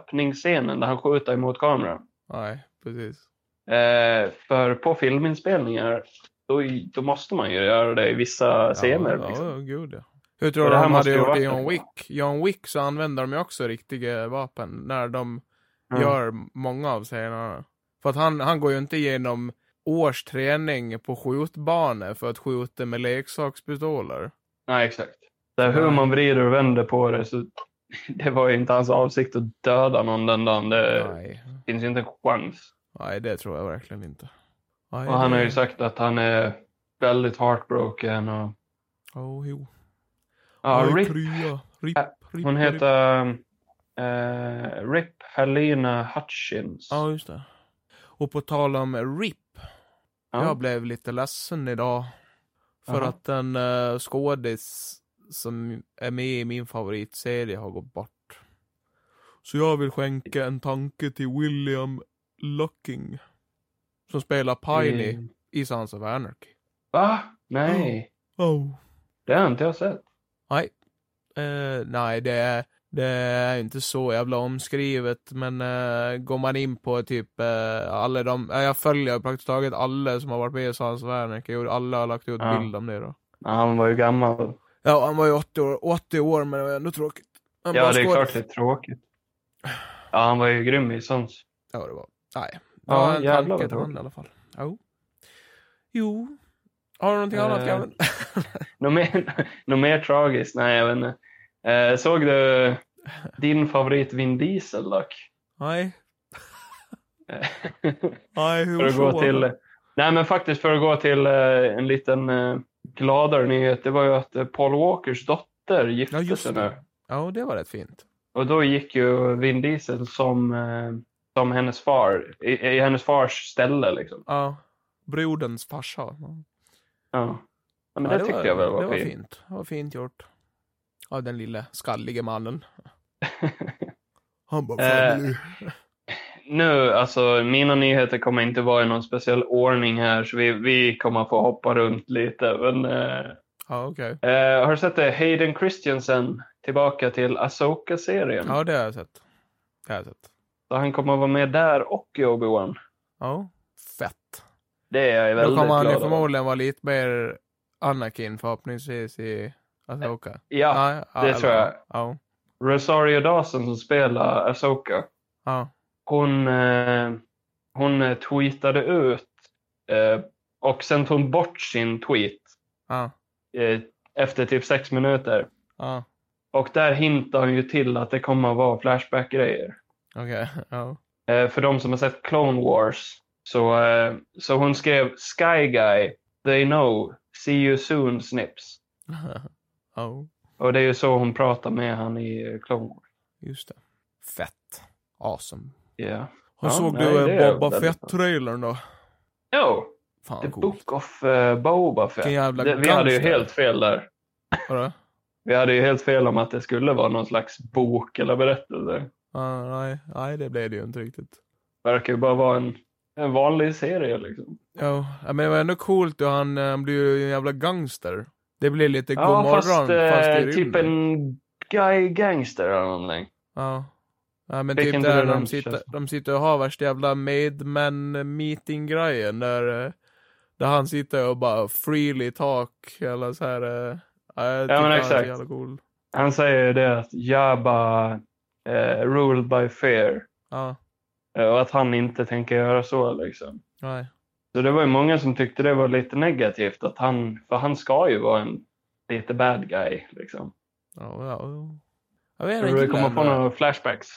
C: Bond-öppningsscenen där han skjuter emot kameran?
B: Nej, precis.
C: Eh, för på filminspelningar då, då måste man ju göra det i vissa scener.
B: Ja,
C: liksom.
B: ja, gud ja. Hur tror
C: Och
B: du
C: det här
B: de hade
C: måste ju
B: gjort i
C: varit liksom.
B: John
C: en-
B: Wick? John Wick så använder de ju också riktiga vapen när de
C: Mm.
B: gör många av scenerna. För att han, han går ju inte igenom års träning på skjutbanor för att skjuta med leksakspistoler.
C: Nej, exakt. Där hur
B: Nej.
C: man vrider och vänder på det så [laughs] det var ju inte hans avsikt att döda någon den dagen. Det
B: Nej.
C: finns ju inte en chans.
B: Nej, det tror jag verkligen inte. Nej,
C: Och han
B: det-
C: har ju sagt att han är väldigt heartbroken. Och,
B: Oh, jo.
C: ja,
B: Aj,
C: RIP.
B: krya. Rip,
C: Ja,
B: rip,
C: Hon
B: rip.
C: heter eh, RIP Helena Hutchins.
B: Ja, just det. Och på tal om RIP.
C: Ja.
B: Jag blev lite ledsen idag. För
C: Jaha.
B: att en uh, skådis som är med i min favoritserie har gått bort. Så jag vill skänka en tanke till William Lucking. Som spelar Piney
C: Mm.
B: i Sons of Anarchy.
C: Va? Nej,
B: Oh.
C: det har inte jag sett.
B: Eh, nej, det är, det är inte så jävla omskrivet, men eh, går man in på typ eh, alla de, eh, jag följer praktiskt taget alla som har varit med i Sons of Anarchy och alla har lagt ut
C: Ja.
B: bild om det då.
C: Ja, Han var ju gammal.
B: Ja, han var ju 80 år, 80 år men det var ändå tråkigt. Han
C: Ja,
B: bara
C: det är
B: skåd-
C: klart det är tråkigt. Ja, han var ju grym i Sons.
B: Ja, det var, nej. Det
C: Ja,
B: var en
C: jävlar
B: tanke
C: vad
B: till han
C: tråkigt.
B: i alla fall. Jo. Jo. Har du någonting
C: Eh.
B: annat, Gavin?
C: Något mer, [laughs] något mer tragiskt? Nej, jag vet inte. Eh, såg du din favorit Vin Diesel dock? [laughs]
B: nej.
C: Eh,
B: Nej,
C: För
B: hur
C: att gå
B: så?
C: till Nej, men faktiskt för att gå till eh, en liten eh, gladare nyhet. Det var ju att eh, Paul Walkers dotter gifte
B: Ja, just
C: sig
B: det.
C: nu.
B: Ja, det var rätt fint.
C: Och då gick ju Vin Diesel som, eh, som hennes far, i, i hennes fars ställe liksom.
B: Ja. Broderns farsa. Ja.
C: Ja. Ja, men
B: Ja,
C: det, tyckte
B: var,
C: jag väl var,
B: det var
C: fint.
B: fint. Det var fint gjort. Av den lille skallige
C: [laughs]
B: mannen. Han bara,
C: Eh.
B: "Fan, nu."
C: nu, alltså mina nyheter kommer inte vara i någon speciell ordning här så vi, vi kommer få hoppa runt lite. Men, eh,
B: Ja, okej.
C: eh, har du sett det? Hayden Christensen tillbaka till Asoka-serien.
B: Ja, det har jag sett. Det har jag sett.
C: Så han kommer vara med där och i Obi-Wan.
B: Ja. Fett.
C: Det är jag
B: Då
C: väldigt
B: kommer han
C: glad
B: ju
C: över.
B: förmodligen vara lite mer Anakin förhoppningsvis i alltså, Asoka.
C: Eh, Ja, det tror jag.
B: Ja.
C: Rosario Dawson som spelar Asoka.
B: Ja.
C: hon, eh, hon eh, tweetade ut eh, och sen tog hon bort sin tweet
B: Ja.
C: eh, efter typ sex minuter.
B: Ja.
C: Och där hintar hon ju till att det kommer att vara Flashback-grejer.
B: Okej. [laughs] Ja.
C: Eh, för de som har sett Clone Wars. Så, eh, så hon skrev Sky Guy, they know, see you soon snips.
B: Ja.
C: Och det är ju så hon pratar med han i eh, Clone Wars.
B: Just det. Fett. Awesome.
C: Yeah.
B: Och
C: Ja,
B: såg
C: nej,
B: du
C: det
B: eh,
C: är
B: Boba
C: väldigt bra.
B: Fett-trailern då?
C: Oh, the
B: Fan coolt.
C: Book of eh, Boba Fett.
B: Vilken jävla
C: Det, vi hade ju
B: gangster.
C: helt fel där.
B: Vadå?
C: Vi hade ju helt fel om att det skulle vara någon slags bok eller berättelse.
B: Ja, nej, nej, det blev det ju inte riktigt.
C: Det verkar ju bara vara en, en vanlig serie liksom.
B: Ja, men det var ändå coolt och han eh, blir ju en jävla gangster. Det blir lite god
C: Ja,
B: morgon,
C: fast,
B: fast, i
C: eh,
B: rymden.
C: typ en guy gangster eller någonting.
B: Ja. Ja, men
C: Fick
B: typ
C: inte
B: där
C: det
B: de
C: namnet,
B: sitter,
C: känns det.
B: de sitter och har värsta jävla made man meeting grejen där, eh, där han sitter och bara freely talk eller så här. eh, Ja, jag tycker
C: men
B: han är
C: exakt.
B: så jävla cool.
C: Han säger ju det att Jabba eh, ruled by fear
B: Ja,
C: eh, och att han inte tänker göra så liksom.
B: nej.
C: Så det var ju många som tyckte det var lite negativt att han, för han ska ju vara en lite bad guy liksom.
B: Ja, ja. ja. Jag vet
C: Tror
B: inte.
C: du det
B: gillar
C: kommer på
B: den där.
C: några flashbacks?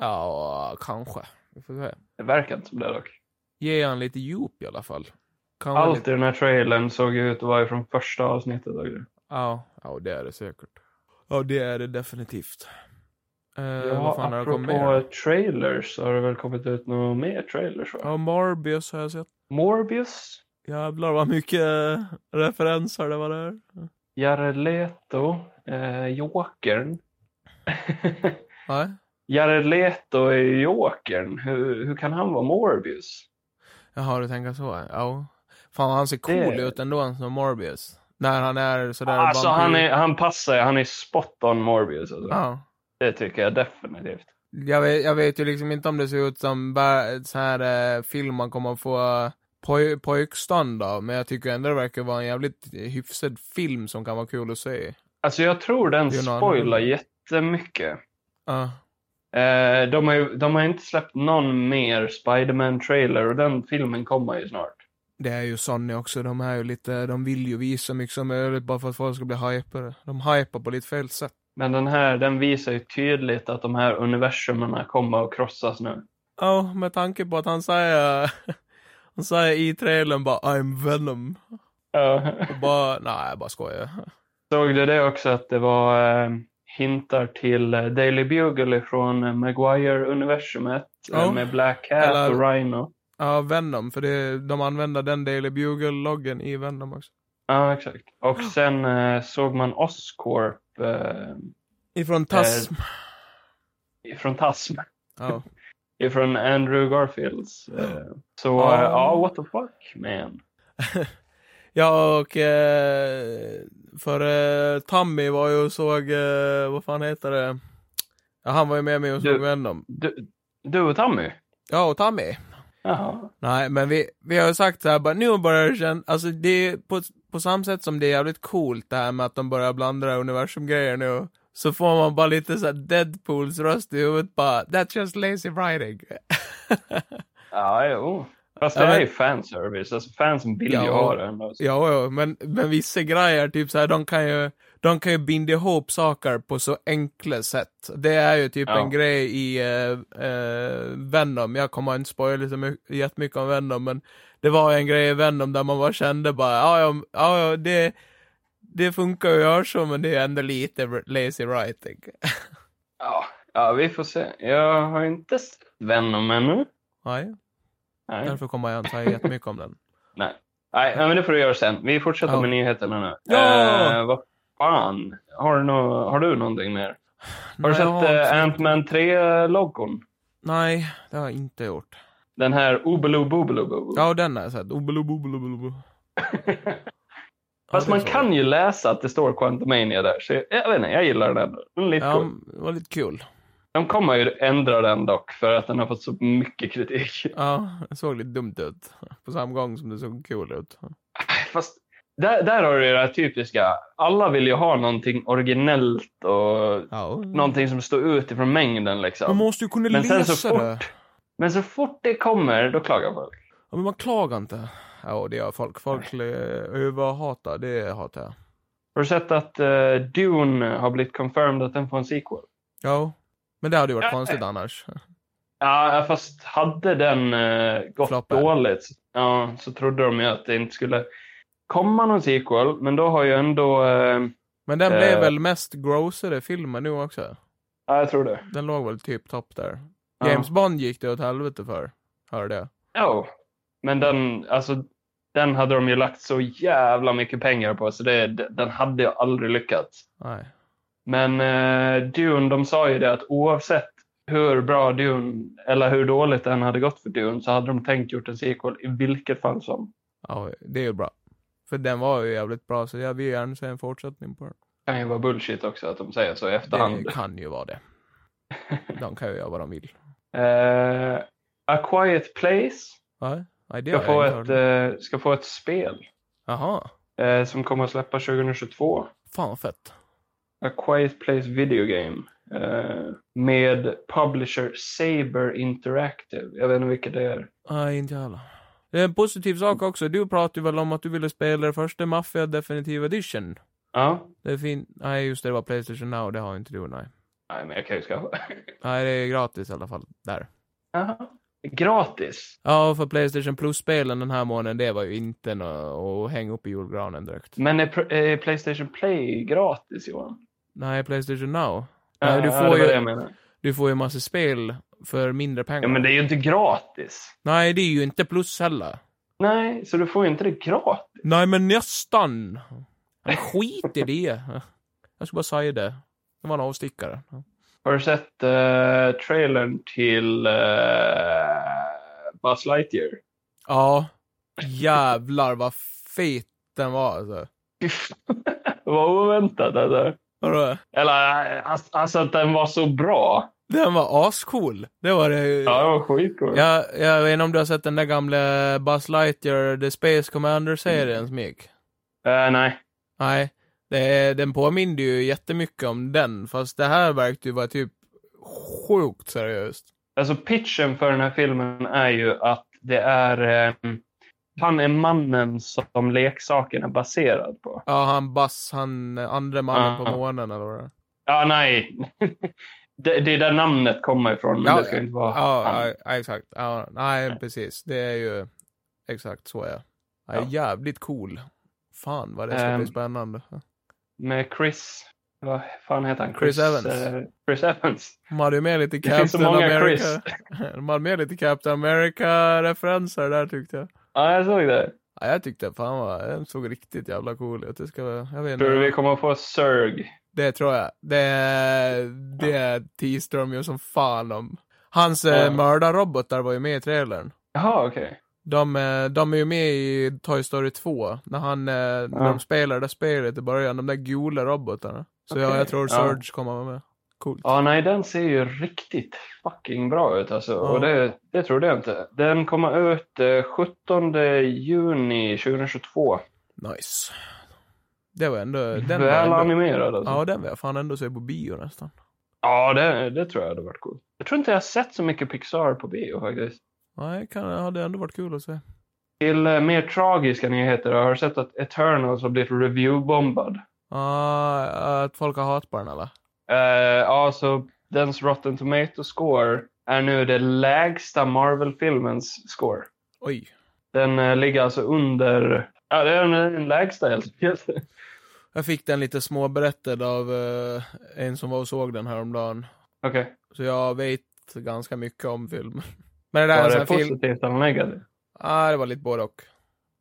B: Ja, kanske. Vi får se.
C: Det verkar inte som det dock.
B: Ge han lite djup i alla fall. Kan vara
C: Allt
B: lite-
C: i den här trailern såg ju ut att vara från första avsnittet. av det.
B: Ja, ja, det är det säkert. Ja, det är det definitivt. Eh, vad
C: Ja,
B: fan har det kommit mer?
C: apropå trailers så har det väl kommit ut några mer trailers va?
B: Ja, Morbius har jag sett.
C: Morbius,
B: Jävlar vad mycket eh, referenser det var där.
C: Jared Leto, eh, Jokern. [laughs]
B: Nej.
C: Jared Leto är ju Jokern. Hur, hur kan han vara Morbius?
B: Jaha, du tänker så. Ja. Fan, han ser cool
C: Det-
B: ut ändå, han som Morbius. När han är sådär...
C: Alltså
B: vampyr-
C: han, är, han passar ju. han är spot on Morbius. Alltså.
B: Ja.
C: Det tycker jag definitivt.
B: Jag vet, jag vet ju liksom inte om det ser ut som vär- så här eh, film man kommer att få eh, poj- pojkstånd av, men jag tycker ändå det verkar vara en jävligt hyfsad film som kan vara kul att se.
C: Alltså jag tror den
B: Det är ju en annan-
C: spoilar jättemycket.
B: Ja.
C: Eh, de, har ju, de har inte släppt någon mer Spiderman-trailer och den filmen kommer ju snart.
B: Det är ju Sony också, de är ju lite, de vill ju visa mycket som möjligt bara för att folk ska bli hypade. De hypar på lite fel sätt.
C: Men den här, den visar ju tydligt att de här universumerna kommer att krossas nu.
B: Ja, med tanke på att han säger, [laughs] han säger i trailern bara I'm Venom.
C: Ja.
B: Och bara, nej jag bara skojar.
C: Såg du det också att det var eh, hintar till eh, Daily Bugle från eh, Maguire-universumet eh,
B: Ja.
C: med Black Hat
B: Eller-
C: och Rhino?
B: Ja, Venom, för det, de använder den Daily Bugle-loggen i Venom också.
C: Ja, exakt. Och sen eh, såg man Oscorp eh,
B: Ifrån Tasm.
C: ifrån [laughs] Tasm,
B: Ja.
C: ifrån Andrew Garfields. Eh, så
B: Ja.
C: eh, ja, what the fuck man.
B: [laughs] ja, och eh, för eh, Tommy var ju och såg, eh, vad fan heter det? Ja, han var ju med mig och såg
C: Du-
B: Venom.
C: Du, du och Tommy?
B: Ja, och Tommy.
C: Jaha.
B: Nej, men vi, vi har ju sagt så här, bara, nu börjar det kännas, alltså det är på, på samma sätt som det är jävligt coolt det här med att de börjar blanda universumgrejer nu, så får man bara lite så här Deadpools röst i huvudet bara, that's just lazy writing. [laughs]
C: Ja, jo. Fast det
B: Ja, men-
C: är ju fanservice. Alltså fansen vill ju
B: Ja.
C: ha den. Alltså.
B: ja, ja, men, men vissa grejer, typ så här, de kan ju, de kan ju binda ihop saker på så enkla sätt. Det är ju typ
C: Ja.
B: en grej i eh, eh, Venom, jag kommer inte spoila så mycket- jättemycket om Venom, men det var ju en grej i Venom där man bara kände bara, ja, ja, ja, ja det, det funkar ju att göra så, men det är ändå lite lazy writing.
C: Ja, ja, vi får se. Jag har inte sett Venom ännu.
B: Nej,
C: Nej,
B: därför kommer jag inte säga jättemycket om den.
C: Nej nej, men det får du göra sen. Vi fortsätter
B: Ja.
C: med nyheterna nu.
B: Ja!
C: Eh, vad fan? Har du, nå- har du någonting mer? [laughs] Har
B: Nej, jag
C: du sett
B: inte-
C: eh, Ant-Man 3-loggon?
B: Nej, det har jag inte gjort.
C: Den här Oobeloo Boobeloo Boo.
B: Ja, den har jag sett. Obelu, obelu, obelu.
C: [laughs] Fast man kan ju läsa att det står Quantumania där, så jag, jag vet inte, jag gillar den. Den är lite
B: Ja,
C: cool.
B: det var lite kul.
C: De kommer ju ändra den dock, för att den har fått så mycket kritik. [laughs]
B: Ja, det såg lite dumt ut. På samma gång som det såg kul ut.
C: Fast där, där har du ju det här typiska, alla vill ju ha någonting originellt och
B: Ja.
C: någonting som står ut ifrån mängden
B: Man
C: liksom.
B: måste ju kunna
C: Men sen
B: läsa
C: så
B: det.
C: fort, men så fort det kommer, då klagar folk.
B: Ja, men man klagar inte. Ja, det gör folk. Folk eh, överhatar. Det hatar jag.
C: Har du sett att eh, Dune har blivit confirmed att den får en sequel?
B: Ja. Men det hade ju varit
C: Ja.
B: konstigt annars.
C: Ja, fast hade den eh, gått
B: Floppat.
C: dåligt ja, så trodde de ju att det inte skulle komma någon sequel, men då har ju ändå... Eh,
B: Men den
C: Eh.
B: blev väl mest grossade filmen nu också?
C: ja, jag tror det.
B: Den låg väl typ topp där.
C: Ja.
B: James Bond gick det åt helvete för. Hörde jag.
C: Ja, men den, alltså, den hade de ju lagt så jävla mycket pengar på, så det, den hade ju aldrig lyckats.
B: Nej.
C: Men eh, Dune, de sa ju det att oavsett hur bra Dune, eller hur dåligt den hade gått för Dune, så hade de tänkt gjort en sequel i vilket fall som.
B: Ja, det är ju bra. För den var ju jävligt bra, så jag vill gärna se en fortsättning på den.
C: Det kan ju vara bullshit också att de säger så i efterhand.
B: Det kan ju vara
C: [laughs]
B: det. De kan ju göra vad de vill.
C: Eh, A Quiet Place
B: Ja, nej, det
C: ska,
B: har
C: få
B: jag
C: ett,
B: inte hört.
C: eh, ska få ett spel
B: Jaha,
C: eh, som kommer att släppa 2022.
B: fan vad fett.
C: A Quiet Place Video Game eh, med publisher Saber Interactive. Jag vet inte vilket det är.
B: Nej, inte jag heller. Det är en positiv sak också. Du pratade ju väl om att du ville spela det första Mafia Definitive Edition?
C: Ja,
B: Det är fin... Nej, just det, det var Playstation Now, det har ju inte du, nej.
C: nej men jag kan ju skaffa. [laughs]
B: Nej, det är gratis i alla fall, där.
C: Jaha. Gratis.
B: Ja, för Playstation Plus-spelen den här månaden, det var ju inte nå- att hänga upp i julgranen direkt.
C: Men är, pr- är Playstation Play gratis Johan?
B: Nej, Playstation Now. Nej,
C: Ja,
B: du
C: det var
B: får
C: det jag
B: ju,
C: menar.
B: du får ju massa spel för mindre pengar.
C: Ja, men det är ju inte gratis.
B: Nej, det är ju inte plus heller.
C: Nej, så du får ju inte det gratis.
B: Nej, men nästan. Men skit i det. Jag ska bara säga det. Det var en avstickare.
C: Har du sett eh, trailern till eh, Buzz Lightyear? [laughs]
B: Ja, jävlar vad fet den var alltså.
C: Fy fan, Vad oväntat alltså.
B: Vadå?
C: Eller eh, ass- alltså att den var så bra.
B: Den var ascool. Det var det.
C: Ja, det var skitcool.
B: Jag, jag vet inte om du har sett den där gamla Buzz Lightyear The Space Commander-serien som gick?
C: Eh, nej.
B: Nej, det, den påminner ju jättemycket om den, fast det här verkade ju vara typ sjukt seriöst.
C: Alltså pitchen för den här filmen är ju att det är eh, han är mannen som leksaken är baserad på.
B: Ja, han Buzz, han eh, andra mannen på
C: Ja.
B: månen eller vad det är.
C: Ja, nej. [laughs] det, det är där namnet kommer ifrån, men
B: Ja,
C: det ska inte vara han.
B: Ja, ja, ja, exakt. Ja, nej, precis. Det är ju exakt så ja. ja.
C: Ja.
B: Jävligt cool. Fan vad det ska bli
C: Ehm,
B: spännande.
C: Med Chris... Vad fan heter han?
B: Chris Evans.
C: eh, Chris Evans.
B: De hade ju med lite
C: Det finns så
B: Captain
C: många
B: America. [laughs] De hade med lite Captain America-referenser där tyckte jag.
C: Ja, jag såg det.
B: Ja, jag tyckte fan vad, den såg riktigt jävla cool ut. Det ska vara, jag vet
C: Tror du
B: inte.
C: vi kommer att få Serg?
B: Det tror jag. Det, det teaser de ju som fan om. Hans
C: Ja.
B: eh, mördarrobotar var ju med i trailern.
C: Jaha, okej.
B: De, eh, de är ju med i Toy Story 2, när, han, eh, när de spelar det spelet i början, de där gula robotarna. Så ja,
C: Okej,
B: jag tror
C: ja.
B: Surge kommer vara med. Coolt.
C: Ja, nej, den ser ju riktigt fucking bra ut alltså. Och det, det trodde jag inte. Den kommer ut eh, 17 juni 2022.
B: Nice. Det var ändå... Den var
C: Väl
B: ändå
C: animerad alltså.
B: ja,
C: Ja,
B: den vill jag fan ändå se på bio nästan.
C: det, det tror jag hade varit coolt. Jag tror inte jag har sett så mycket Pixar på bio faktiskt.
B: Nej, kan, hade ändå varit kul att se.
C: Till eh, mer tragiska nyheter, jag har sett att Eternals har blivit reviewbombad.
B: Ah, att folk har hat på den eller?
C: Eh, ja, så dens Rotten Tomato score är nu det lägsta Marvel-filmens score.
B: Oj.
C: Den eh, ligger alltså under... Ja, det är den den lägsta helt enkelt.
B: Jag fick den lite småberättad av eh, en som var och såg den häromdagen.
C: Okej. [laughs]
B: Så jag vet ganska mycket om film. [laughs] Men det där är en
C: Var
B: sån
C: det
B: här film.
C: positivt eller negativt?
B: Ah, det var lite både och.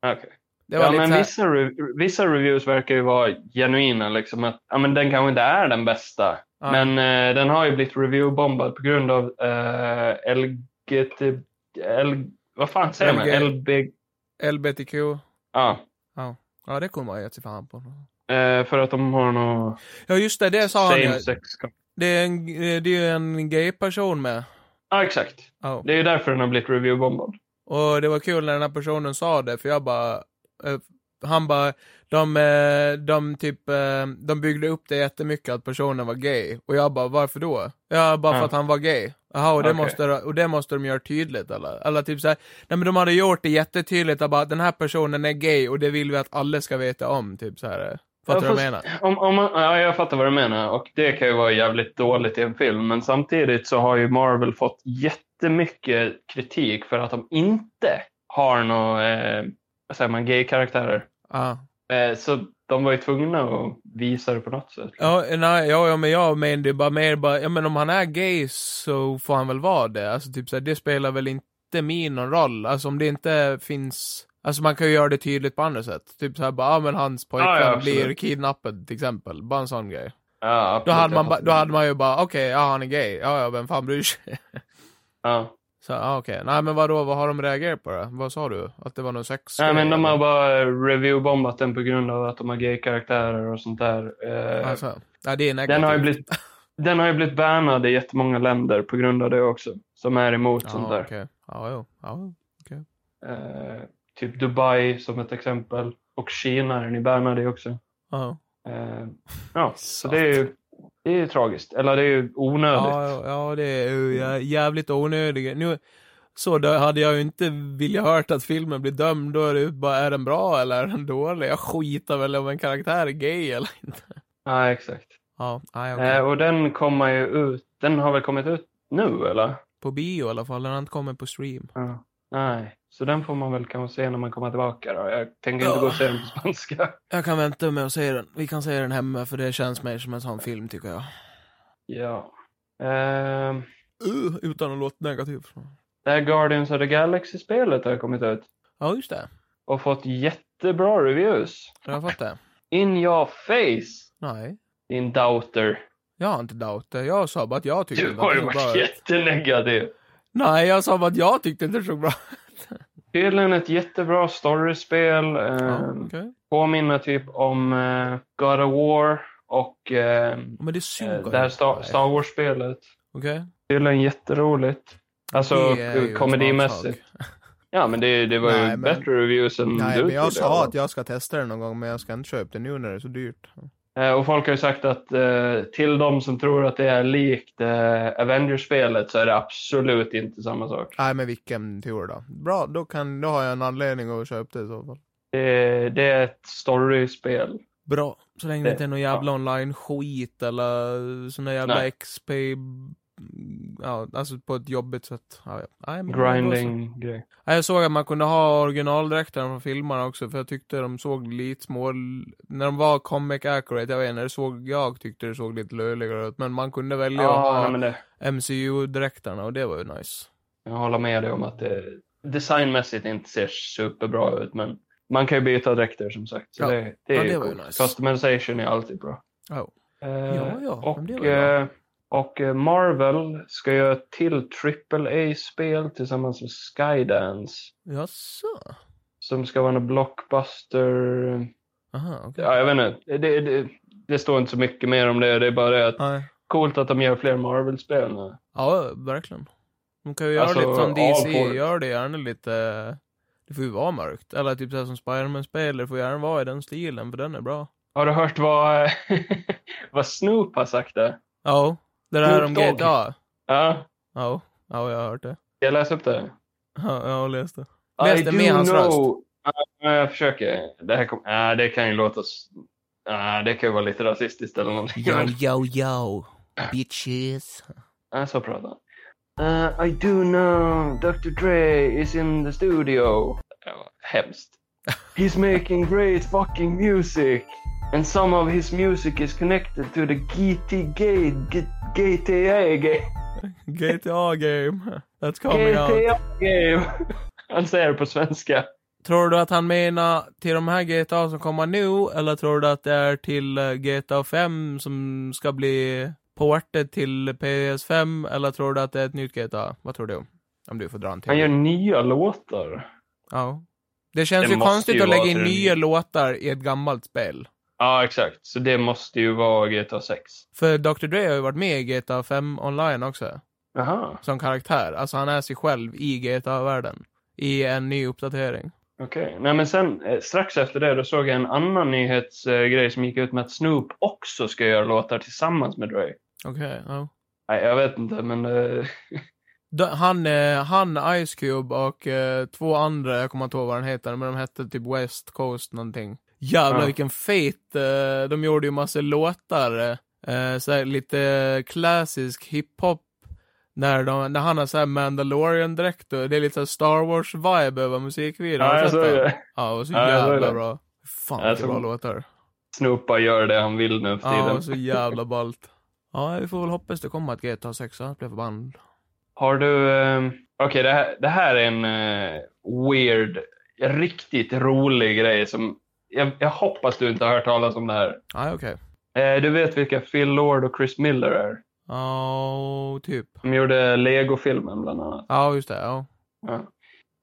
C: Okej.
B: Det var
C: Ja,
B: lite
C: men
B: så här-
C: vissa, re- vissa reviews verkar ju vara genuina. Liksom, att, ja, men den kanske inte är den bästa.
B: Ja.
C: Men eh, den har ju blivit reviewbombad på grund av eh, LGT... L, vad fan säger man?
B: LG.
C: LB...
B: LBTQ.
C: Ja.
B: Ja, det kunde man ju gett sig fan på.
C: Eh, för att de har något
B: Ja, just det, det sa han ju.
C: same sex.
B: Det är en, det är ju en gay-person med.
C: Ja, exakt.
B: Ja.
C: Det är ju därför den har blivit reviewbombad.
B: Och det var kul när den här personen sa det, för jag bara... Eh, han bara, de, eh, de typ, eh, de byggde upp det jättemycket att personen var gay. Och jag bara, varför då? Ja, bara för
C: Ja.
B: att han var gay. Jaha, och det,
C: Okej.
B: måste, och det måste de göra tydligt eller? Eller typ såhär, nej men de hade gjort det jättetydligt att bara, den här personen är gay och det vill vi att alla ska veta om, typ såhär. Fattar du
C: Ja,
B: vad jag menar?
C: fast- Om, om man, ja, jag fattar vad du menar. Och det kan ju vara jävligt dåligt i en film. Men samtidigt så har ju Marvel fått jättemycket kritik för att de inte har några, eh, vad säger man, gay-karaktärer.
B: Ja.
C: Eh, så de var ju tvungna att visa det på något sätt.
B: Ja, nej, ja, ja, men jag menar det är bara mer bara, ja men om han är gay så får han väl vara det. Alltså typ så här, det spelar väl inte min någon roll. Alltså om det inte finns, alltså man kan ju göra det tydligt på andra sätt. Typ så här bara, ja men hans pojkvän
C: Ja, ja, absolut.
B: blir kidnappad till exempel. Bara en sån grej.
C: Ja, absolut,
B: Då hade
C: jag
B: man, ba-
C: fattar.
B: då hade man ju bara, okej, ja han är gay. Ja, ja, vem fan bryr sig? [laughs]
C: Ja.
B: Så, ja okej. Nej men vadå, vad har de reagerat på då? Vad sa du? Att det var någon sex?
C: Nej, men de har bara reviewbombat den på grund av att de har gay-karaktärer och sånt där. Eh,
B: Alltså, ja det är negativt.
C: den, har ju blivit, den har ju blivit bannad i jättemånga länder på grund av det också. Som är emot sånt
B: Ja,
C: där.
B: okej. Ja, jo. Ja,
C: Eh, typ Dubai som ett exempel. Och Kina är ni bannade i också.
B: ja.
C: Eh, ja, så det är ju det är ju tragiskt. Eller det är ju onödigt.
B: Ja, ja, ja, det är ju jä- jävligt onödigt. Nu, så då hade jag ju inte velat hört att filmen blir dömd, då är det ju bara, är den bra eller är den dålig? Jag skiter väl om en karaktär är gay eller inte.
C: Ja, exakt.
B: Ja, nej,
C: Eh,
B: okej.
C: och den kommer ju ut. Den har väl kommit ut nu eller?
B: På bio i alla fall, den har inte kommit på stream.
C: Ja. Nej, så den får man väl kanske se när man kommer tillbaka då. Jag tänker inte
B: Ja.
C: gå och se den på spanska. [laughs]
B: Jag kan vänta med att se den. Vi kan se den hemma, för det känns mer som en sån film tycker jag.
C: Ja. Eh,
B: Uh, utan att låta negativ.
C: det här Guardians of the Galaxy-spelet har ju kommit ut.
B: Ja, just det.
C: Och fått jättebra reviews.
B: Jag fattar.
C: In your face,
B: Nej.
C: din doubter.
B: Jag har inte doubtat. Jag sa bara att jag tyckte
C: Du
B: inte
C: har
B: att
C: ju
B: det såg bra
C: varit
B: ut.
C: jättenegativ.
B: Nej, jag sa bara att jag tyckte inte det såg bra ut.
C: Tydligen ett jättebra storyspel. Eh,
B: Ja, okej.
C: Påminner typ om eh, God of War och eh,
B: Men det
C: eh,
B: suger.
C: det här Star,
B: Nej.
C: Star Wars-spelet.
B: Okej.
C: Tydligen jätteroligt. Alltså
B: Det är ju en
C: komedimässigt.
B: smaksak.
C: Ja, men det, det var ju
B: Nej, men-
C: bättre reviews än
B: Nej,
C: du
B: men jag
C: trodde.
B: sa att jag ska testa den någon gång, men jag ska inte köpa den nu när det är så dyrt.
C: Eh, Och folk har ju sagt att eh, till de som tror att det är likt eh, Avengers-spelet så är det absolut inte samma sak.
B: Nej, men vilken tur då. Bra, då, kan, då har jag en anledning att köpa det i så fall.
C: Det, det är ett storyspel.
B: Bra, så länge det
C: Det-
B: inte är någon jävla online-skit eller sån där jävla
C: Nej.
B: XP... Ja, alltså på ett jobbigt sätt. Ja, ja. Nej, men det var så.
C: Grinding-grej.
B: Nej, Jag såg att man kunde ha originaldräkterna från filmerna också, för jag tyckte de såg lite små... När de var comic accurate, jag vet inte, det såg, jag tyckte det såg lite löjligare ut, men man kunde välja att
C: Ja,
B: ha...
C: nej, men det,
B: MCU-dräkterna och det var ju nice.
C: jag håller med dig om att det designmässigt inte ser superbra ut, men man kan ju byta dräkter som sagt. Så
B: Ja.
C: det, det,
B: Ja,
C: är
B: det
C: ju
B: var ju
C: coolt.
B: nice.
C: Customization är alltid bra.
B: Ja.
C: Eh,
B: Ja, ja,
C: och,
B: men det var ju bra.
C: eh, och eh, Marvel ska göra ett till AAA-spel tillsammans med Skydance
B: Jaså?
C: som ska vara en blockbuster.
B: Aha, okej.
C: Ja, jag vet inte. Det, det, det står inte så mycket mer om det. Det är bara det att
B: Nej.
C: coolt att de gör fler Marvel-spel nu.
B: Ja, verkligen. De kan ju göra
C: Alltså,
B: lite som
C: all
B: DC,
C: for it.
B: gör det gärna lite... Det får ju vara mörkt. Eller typ såhär som Spiderman-spel, det får gärna vara i den stilen, för den är bra.
C: Har du hört vad, [laughs] vad Snoop har sagt där?
B: Ja. Det där om
C: Snoop Dogg.
B: GTA.
C: Ja,
B: Ja. Ja, jag har hört det.
C: jag läser upp det.
B: Ja, jag har läst det. Läs det med
C: do
B: hans
C: know- Ja, jag försöker. Det, här kom... ja, det kan ju låta... s- Nej, det kan ju vara lite rasistiskt eller någonting.
B: Yo, yo, yo. Bitches.
C: Nej, så pratar han. Eh, I do know Dr. Dre is in the studio. Ja, hemskt. He's making great fucking music. And some of his music is connected to the GT Gate GTA game.
B: GTA game. That's coming out.
C: GTA game. Han säger det på svenska.
B: Tror du att han menar till de här GTA som kommer nu eller tror du att det är till eh, GTA 5 som ska bli portet till PS5 eller tror du att det är ett nytt GTA? Vad tror du? Om du får dra en
C: Han gör
B: till.
C: nya låtar.
B: Ja. Det känns
C: Det
B: ju
C: måste
B: konstigt
C: ju
B: att lägga
C: vara
B: in
C: till-
B: nya låtar i ett gammalt spel.
C: Ja, exakt. Så det måste ju vara GTA 6.
B: För Dr. Dre har ju varit med i GTA 5 online också.
C: Aha,
B: Som karaktär. Alltså han är sig själv i GTA-världen. I en ny uppdatering.
C: okej. Nej, men sen eh, strax efter det då såg jag en annan nyhetsgrej som gick ut med att Snoop också ska göra låtar tillsammans med Dre.
B: Okej, ja.
C: Nej, jag vet inte, men eh,
B: D- Han, eh, han, Ice Cube och eh, två andra, jag kommer inte ihåg vad den heter, men de hette typ West Coast någonting. Jävlar
C: Ja.
B: vilken fet, eh, de gjorde ju massa låtar, eh, så här lite klassisk hiphop. När, de, när han har såhär Mandalorian-dräkt och det är lite så här Star Wars-vibe över musikvideon. Har
C: ja,
B: du
C: [laughs] jag
B: sett
C: såg
B: den?
C: det.
B: Ja, och så
C: Ja, jag såg
B: jävla
C: det.
B: bra. Fan
C: Ja, jag
B: vilka
C: såg
B: bra
C: det.
B: låtar.
C: Snoop bara gör det han vill nu för
B: Ja,
C: tiden.
B: och så jävla ballt. Ja, vi får väl hoppas det kommer att GTA 6 annars blir jag förbannad.
C: Har du... Eh, Okej, det, här, det här är en eh, weird, riktigt rolig grej som... Jag, jag hoppas du inte har hört talas om det här.
B: Nej, okej.
C: Eh, du vet vilka Phil Lord och Chris Miller är?
B: Ja, typ.
C: De gjorde Lego-filmen bland annat.
B: Ja, just det. Ja.
C: Ja.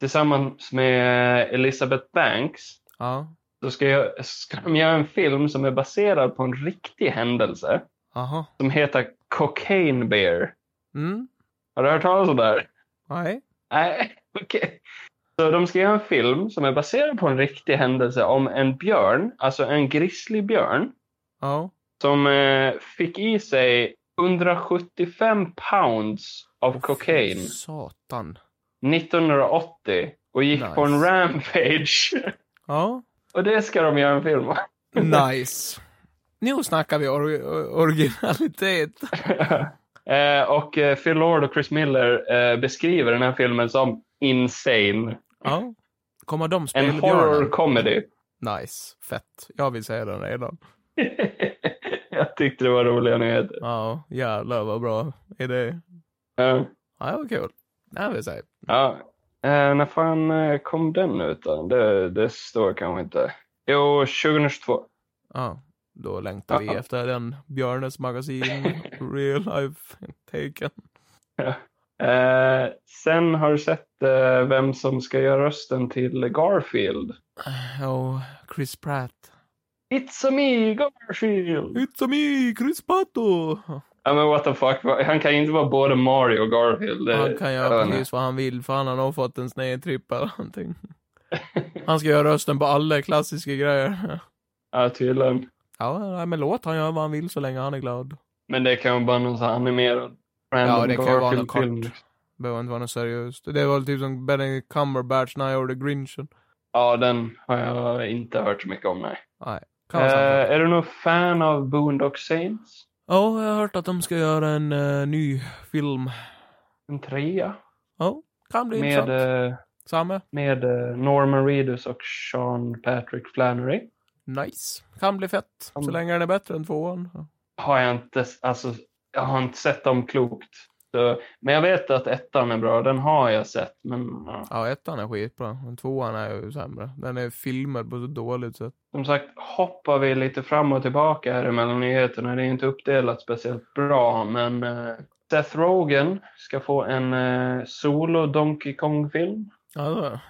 C: Tillsammans med eh, Elizabeth Banks
B: Ja.
C: så ska, jag, ska de göra en film som är baserad på en riktig händelse
B: Aha.
C: som heter Cocaine Bear.
B: Mm.
C: Har du hört talas om det här?
B: Nej.
C: Nej, [laughs] okej. Så de ska göra en film som är baserad på en riktig händelse om en björn, alltså en grizzlybjörn,
B: Ja.
C: som eh, fick i sig 175 pounds av kokain
B: Fy Satan.
C: 1980 och gick på en
B: Nice.
C: rampage. [laughs]
B: Ja.
C: Och det ska de göra en film om. [laughs]
B: Nice. Nu snackar vi or- or- originalitet.
C: Eh, och eh, Phil Lord och Chris Miller eh, beskriver den här filmen som insane.
B: Ja. Kommer de
C: En
B: spela
C: horror
B: björnen?
C: comedy. [laughs]
B: Nice. Fett. Jag vill säga den redan.
C: jag tyckte det var roliga nyheter.
B: Ja, jävlar vad bra idé.
C: Eh,
B: Ja, det var kul. Det vill säga.
C: ja. Eh, när fan eh, kom den ut då? Det, det står kanske inte. Jo, 2022.
B: Ja. Då längtar vi
C: Ja.
B: efter den Björnes magasin, real life taken.
C: Eh, sen har du sett eh, vem som ska göra rösten till Garfield.
B: Och Chris Pratt.
C: It's a me, Garfield!
B: It's a me, Chris Pato!
C: Ja, men what the fuck. Han kan ju inte vara både Mario och Garfield. Det-
B: Han kan
C: jag
B: göra
C: vet inte.
B: precis vad han vill för han har nog fått en snedtripp eller någonting. Han ska göra rösten på alla klassiska grejer.
C: Ja, tydligen.
B: Ja, nej, men låt han göra vad han vill så länge han är glad.
C: Men det kan ju vara någon sån här animerad.
B: Ja, det kan ju vara någon
C: Garfield-film.
B: kort. Behöver inte vara något seriöst. Det var väl typ som Benedict Cumberbatch när han gjorde Grinchen.
C: Ja, den har jag inte hört så mycket om, nej.
B: Kan vara sant.
C: Eh, är du någon fan av Boondock Saints?
B: Ja, jag har hört att de ska göra en eh, ny film.
C: En trea?
B: Ja, kan bli
C: Med,
B: intressant.
C: eh,
B: Samma.
C: med eh, Norman Reedus och Sean Patrick Flannery.
B: Nice. Kan bli fett. Så
C: Mm.
B: länge den är bättre än tvåan. Ja.
C: Har jag inte, alltså, jag har inte sett dem klokt. Så, men jag vet att ettan är bra, den har jag sett. Men ja.
B: Ja, ettan är skitbra. Men tvåan är ju sämre. Den är filmad på så dåligt sätt.
C: som sagt, hoppar vi lite fram och tillbaka här mellan nyheterna. Det är inte uppdelat speciellt bra, men eh, Seth Rogen ska få en eh, solo Donkey Kong-film
B: Alltså,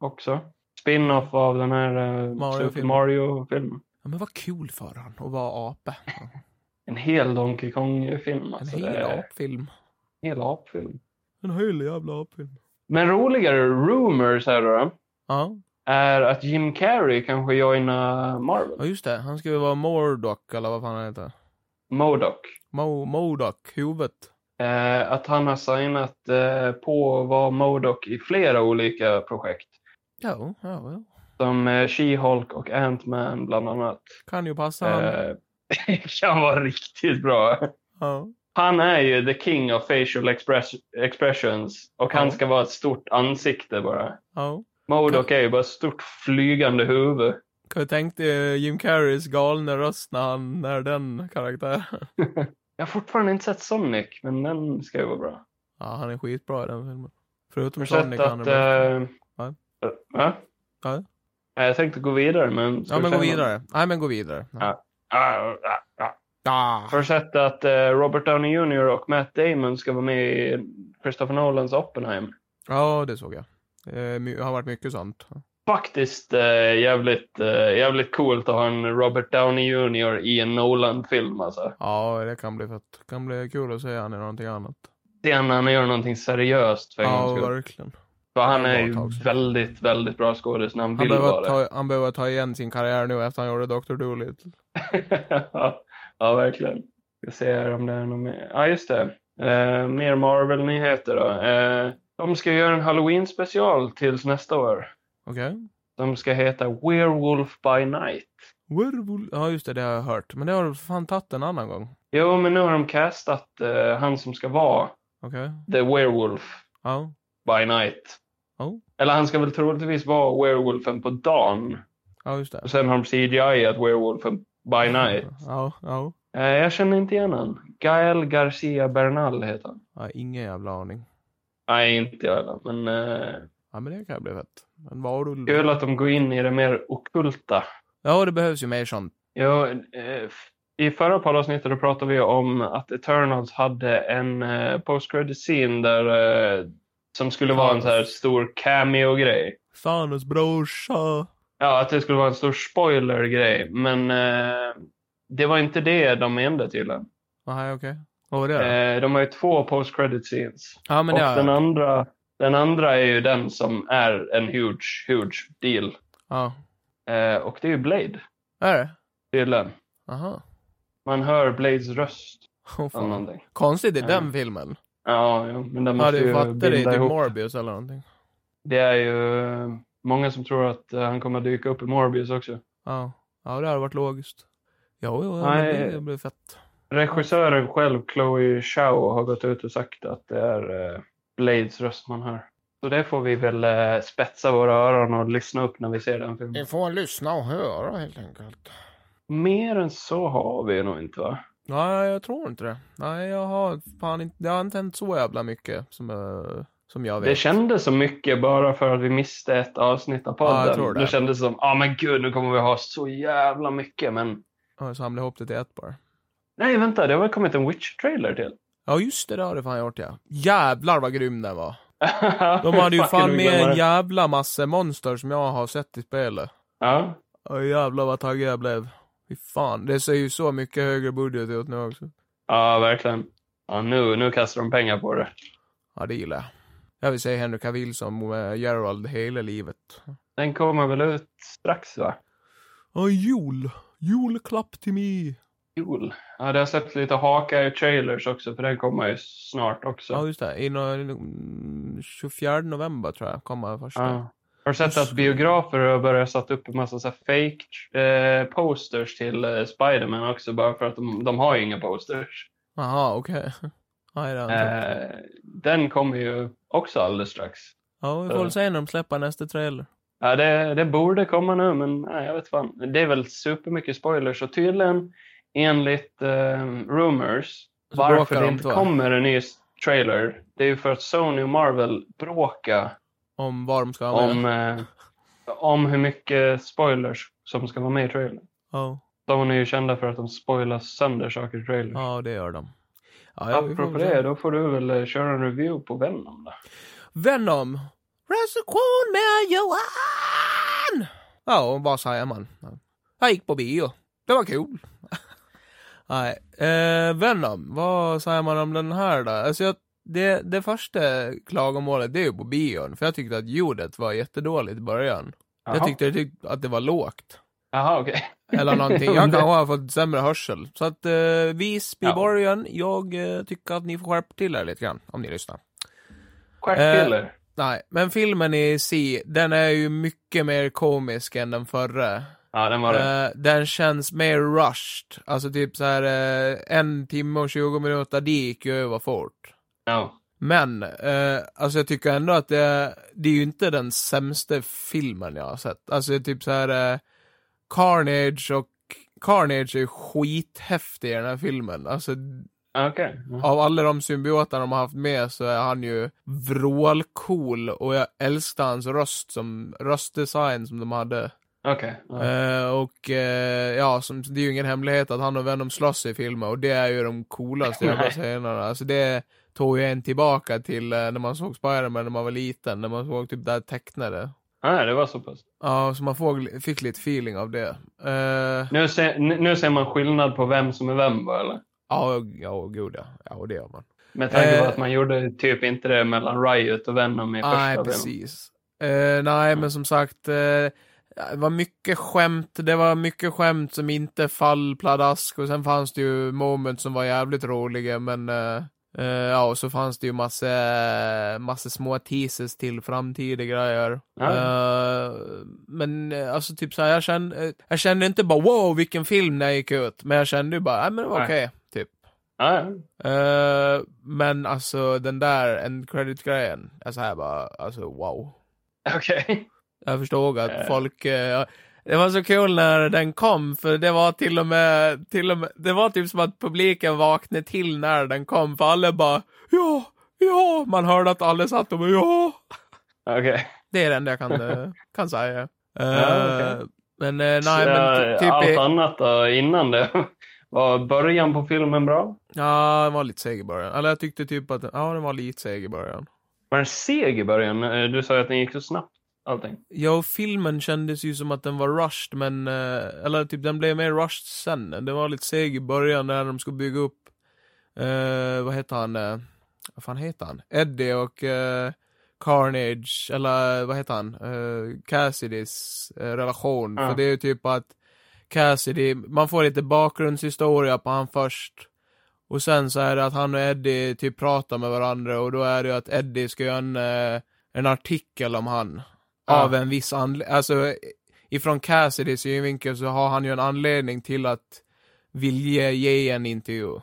C: också. Spin-off av den här eh,
B: Mario-filmen.
C: Super Mario-filmen.
B: ja, men vad kul för han att vara ape.
C: En hel Donkey Kong-film.
B: En
C: Alltså, Det
B: hel
C: är
B: apfilm.
C: En hel apfilm.
B: En hel jävla apfilm.
C: Men roligare rumors här då,
B: Ja,
C: är att Jim Carrey kanske joinar
B: ja,
C: Marvel.
B: just det. Han ska ju vara Mordock eller vad fan han heter.
C: Modok.
B: Mo Modoc, huvudet.
C: Eh, att han har signat eh, på att vara Modok i flera olika projekt.
B: Ja, ja, ja.
C: Som eh, She-Hulk och Ant-Man bland annat.
B: Kan ju passa han.
C: Eh, [laughs] kan vara riktigt bra.
B: Ja.
C: Han är ju the king of facial express expressions och han
B: Ja.
C: ska vara ett stort ansikte bara.
B: ja.
C: Modok är ju bara ett stort flygande huvud.
B: Kan du tänka dig Jim Carreys galna röst när han är den karaktären?
C: Jag har fortfarande inte sett Sonic, men den ska ju vara bra.
B: Ja, han är skitbra i den filmen. Förutom
C: Har
B: Sonic
C: sett
B: han är
C: att...
B: bra.
C: eh,
B: Ja.
C: eh, va?
B: Ja.
C: Nej, Jag tänkte gå vidare, men... ska
B: Ja,
C: du
B: men gå
C: säga något?
B: vidare. Nej, men gå vidare.
C: Ja. Ah, ah, ah.
B: Ah.
C: Har du sett att eh, Robert Downey Jr och Matt Damon ska vara med i Christopher Nolans Oppenheim?
B: Ja, det såg jag. Eh, my- Det har varit mycket sånt.
C: Faktiskt eh, jävligt, eh, jävligt coolt att ha en Robert Downey Jr i en Nolan-film alltså.
B: Ja, det kan bli fett. kan bli kul att se han i någonting annat.
C: Det när han gör någonting seriöst för en
B: Ja,
C: gångs skull.
B: verkligen.
C: För han
B: det var
C: är
B: ett tag
C: ju
B: sedan.
C: väldigt, väldigt bra skådis när han
B: Han
C: vill
B: behöver,
C: vara det.
B: ta, han behöver ta igen sin karriär nu efter han gjorde Dr. Dolittle.
C: [laughs] ja, ja, verkligen. Ska se här om det är något mer. Ja, just det. Eh, mer Marvel-nyheter då. Eh, de ska göra en Halloween-special tills nästa år.
B: Okej?
C: De ska heta Werewolf by Night.
B: Werewolf. Ja, just det, det har jag hört. Men det har du fan tagit en annan gång.
C: Jo, men nu har de castat eh, han som ska vara
B: Okej?
C: The Werewolf
B: Ja.
C: by Night.
B: Oh.
C: Eller han ska väl troligtvis vara Werewolfen på dagen.
B: Ja, just det.
C: Och sen har de CGI att Werewolfen by Night.
B: Ja, ja.
C: Eh, jag känner inte igen han. Gael Garcia Bernal heter han.
B: ja ingen jävla aning.
C: Nej, inte jag heller. Men eh,
B: Ja, men det kan bli fett. En varulv.
C: kul att de går in i det mer okulta.
B: Ja, det behövs ju mer sånt.
C: Jo, eh, f- I förra poddavsnittet då pratade vi om att Eternals hade en eh, post-credit scene där eh, som skulle vara en så här stor cameo-grej.
B: Thanos brorsa.
C: Ja, att det skulle vara en stor spoiler-grej. Men eh, det var inte det de menade tydligen.
B: Nej, okej. Vad var det då?
C: Eh, de har ju två post-credit scenes.
B: ja, men
C: Och
B: det har
C: den
B: jag.
C: andra, den andra är ju den som är en huge, huge deal.
B: Ja.
C: Eh, och det är ju Blade,
B: Är det?
C: tydligen.
B: Aha.
C: Man hör Blades röst
B: Åh,
C: eller
B: fan.
C: någonting.
B: Konstigt i
C: Ja.
B: den filmen.
C: Ja, ja, men den
B: Ja,
C: måste
B: du
C: ju
B: fattar det i
C: binda
B: typ
C: ihop.
B: Morbius eller någonting.
C: det är ju eh, många som tror att eh, han kommer att dyka upp i Morbius också.
B: Ja. Ja, det hade varit logiskt. Jo, jo, ja,
C: Nej.
B: det, det blir fett.
C: Regissören själv, Chloe Zhao, har gått ut och sagt att det är eh, Blades röst man hör. Så det får vi väl eh, spetsa våra öron och lyssna upp när vi ser den filmen.
E: Ni får lyssna och höra helt enkelt.
C: Mer än så har vi nog inte va?
B: Nej, jag tror inte det. Nej, jag har fan inte, det har inte hänt så jävla mycket som, eh, som jag vet.
C: Det kändes så mycket bara för att vi missade ett avsnitt av
B: Ja, jag
C: podden.
B: tror det.
C: det. kändes som, ja ah, men gud nu kommer vi ha så jävla mycket men
B: Jag samlar ihop det till ett bara.
C: nej vänta det har väl kommit en Witch-trailer till?
B: Ja, just det, det har det fan gjort ja. Jävlar vad grym den var.
C: [laughs]
B: De hade ju
C: Fuck, jag
B: fan
C: glömde
B: med en
C: det.
B: jävla massa monster som jag har sett i spelet.
C: Ja,
B: Ja, jävlar vad taggad jag blev. Fy fan, det ser ju så mycket högre budget ut nu också.
C: ja verkligen. Ja, nu, nu kastar de pengar på det.
B: Ja, det gillar jag. Jag vill säga Henry Cavill som eh, Gerald hela livet.
C: Den kommer väl ut strax va?
B: Ja, jul. Julklapp till mig.
C: Jul. Ja, det har sett lite haka i trailers också för den kommer ju snart också.
B: Ja, just det. I nå- mm, 24 november tror jag kommer första.
C: Ja. Har du sett att biografer har börjat sätta upp en massa så här fake eh, posters till eh, Spiderman också bara för att de, de har ju inga posters.
B: Aha, okej. [laughs] Nej, det har jag inte sett.
C: Eh, den kommer ju också alldeles strax.
B: Ja,
C: eh.
B: vi får väl se när de släpper nästa trailer.
C: Ja, det, det borde komma nu men nej, jag vet fan. Det är väl supermycket spoilers och tydligen enligt eh, rumors
B: Så bråkar
C: varför det
B: de
C: inte
B: två.
C: kommer en ny s- trailer det är ju för att Sony och Marvel bråkar
B: Om vad de ska ha med.
C: om, eh, om hur mycket spoilers som ska vara med i trailern.
B: Ja.
C: De är ju kända för att de spoilar sönder saker i trailers.
B: ja, det gör de. Ja, ja, vi får
C: Apropå
B: väl se.
C: det, då får du väl eh, köra en review på Venom då.
B: Venom. Recension med Johan! Ja, och vad säger man? Jag gick på bio. Det var kul. [laughs] Nej, eh, Venom. Vad säger man om den här då? Alltså jag, det, det första klagomålet det är ju på bion. För jag tyckte att ljudet var jättedåligt i början. Jag
C: Jaha.
B: tyckte, jag tyckte att det var lågt.
C: Jaha, okej. [laughs]
B: Eller någonting.
C: Ja, men
B: Jag
C: det-
B: kanske har fått sämre hörsel. Så att eh, Visbyborgen, jag eh, tycker att ni får skärpa till er lite grann om ni lyssnar.
C: Stjärtpiller.
B: Nej, men filmen i Si, den är ju mycket mer komisk än den förra.
C: Ja, den var det.
B: Eh, den känns mer rushed. Alltså typ så här eh, en timme och 20 minuter, det gick ju över fort.
C: Ja.
B: Men, eh, alltså jag tycker ändå att det, det är ju inte den sämsta filmen jag har sett. Alltså typ så här eh, Carnage och Carnage är ju skithäftig i den här filmen. Alltså
C: Okej. Ja.
B: av alla de symbioterna de har haft med så är han ju vrålcool och jag älskar hans röst som röstdesign som de hade.
C: Okej. Ja.
B: Eh, och eh, ja, som, det är ju ingen hemlighet att han och Venom slåss i filmen och det är ju de
C: [laughs]
B: coolaste jävla
C: Nej.
B: scenerna. Alltså det tog ju en tillbaka till eh, när man såg Spiderman när man var liten, när man såg typ det här tecknade.
C: Nej, det var så pass.
B: Ja, så man får, fick lite feeling av det. Eh,
C: Nu ser, nu nu ser man skillnad på vem som är vem, va, eller?
B: ja, ja, och gud ja. Ja, och det gör man.
C: Med tanke på
B: Eh.
C: att man gjorde typ inte det mellan Riot och Venom i första
B: Nej,
C: filmen.
B: precis. Eh, nej, men som sagt, eh, det var mycket skämt. Det var mycket skämt som inte fall pladask och sen fanns det ju moment som var jävligt roliga, men eh, eh, ja, och så fanns det ju massa, massa små teases till framtida grejer.
C: Ja.
B: Eh, men eh, alltså typ så här, jag kände, eh, jag kände inte bara wow, vilken film när jag gick ut, men jag kände ju bara, nej men det var
C: Nej.
B: okej, typ.
C: Ja, [laughs]
B: Eh, men alltså den där end credit-grejen, alltså här bara, alltså wow.
C: ja. okej.
B: Jag förstod att
C: Eh.
B: folk, eh, det var så kul när den kom, för det var till och med, till och med det var typ som att publiken vaknade till när den kom, för alla bara ja, ja, man hörde att alla satt och bara ja.
C: Okej.
B: Det är det enda jag kan,
C: [laughs]
B: eh, kan säga. Eh,
C: Ja, okej.
B: Men eh, nej,
C: Så,
B: men ty-
C: eh,
B: typ,
C: Allt
B: i-
C: annat då, innan det? [laughs] Var början på filmen bra?
B: ja, den var lite seg i början. Eller jag tyckte typ att, ja, den var lite seg i början.
C: Var den seg i början? Eh, Du sa ju att den gick så snabbt, allting.
B: Ja, och filmen kändes ju som att den var rushed, men... eh, Eller typ, den blev mer rushed sen. Den var lite seg i början när de skulle bygga upp... eh, vad heter han? eh, vad fan heter han? Eddie och eh, Carnage, eller vad heter han? Eh, Cassidys eh, relation.
C: Ja.
B: För det är ju typ att Cassidy, man får lite bakgrundshistoria på han först. Och sen så är det att han och Eddie typ pratar med varandra och då är det ju att Eddie ska göra en, eh, en artikel om han.
C: Ja.
B: Av en viss anledning, alltså ifrån Cassidys synvinkel så har han ju en anledning till att vilja ge en intervju. Och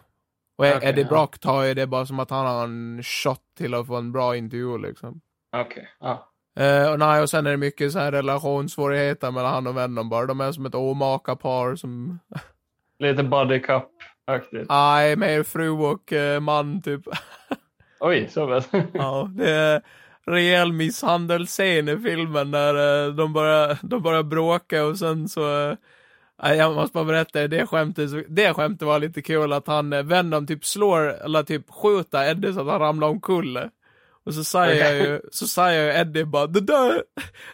C: Okej,
B: Eddie
C: ja.
B: Brock tar ju det bara som att han har en shot till att få en bra intervju liksom.
C: Okej. Ja.
B: Eh, och, nej, och sen är det mycket så här relationssvårigheter mellan han och Venom bara. De är som ett omaka par som...
C: Lite body cup-aktigt.
B: Nej, mer fru och eh, man typ.
C: Oj, så pass.
B: ja, det är rejäl misshandelsscen i filmen där eh, de börjar, de börjar bråka och sen så... Eh, nej, jag måste bara berätta, det skämtet, så- det skämtet var lite kul att han, eh, Venom typ slår, eller typ skjuter Eddie så att han ramlar omkull. Och så säger jag ju, så säger jag ju Eddie bara, det där,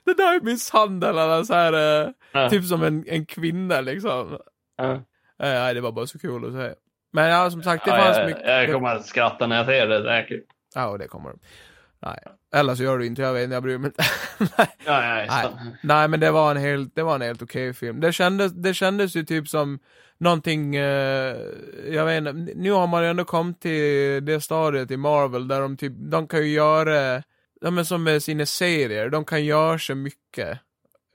B: det där är misshandel, eller så här, eh,
C: [laughs] Ja.
B: typ som en, en kvinna liksom.
C: Ja.
B: Eh, Nej, det var bara så kul att säga. Men ja, som sagt, det
C: Ja,
B: fanns
C: jag,
B: mycket...
C: jag kommer att skratta när jag ser det säkert.
B: Ja, och det kommer de. Nej. Eller så gör du inte, jag vet inte, jag bryr mig inte. [laughs] Nej.
C: Ja, ja, just
B: Nej.
C: det.
B: Nej, men det var en helt, det var en helt okej film. Det kändes, det kändes ju typ som någonting, eh, jag vet inte, nu har man ju ändå kommit till det stadiet i Marvel där de typ, de kan ju göra, ja men som med sina serier, de kan göra så mycket.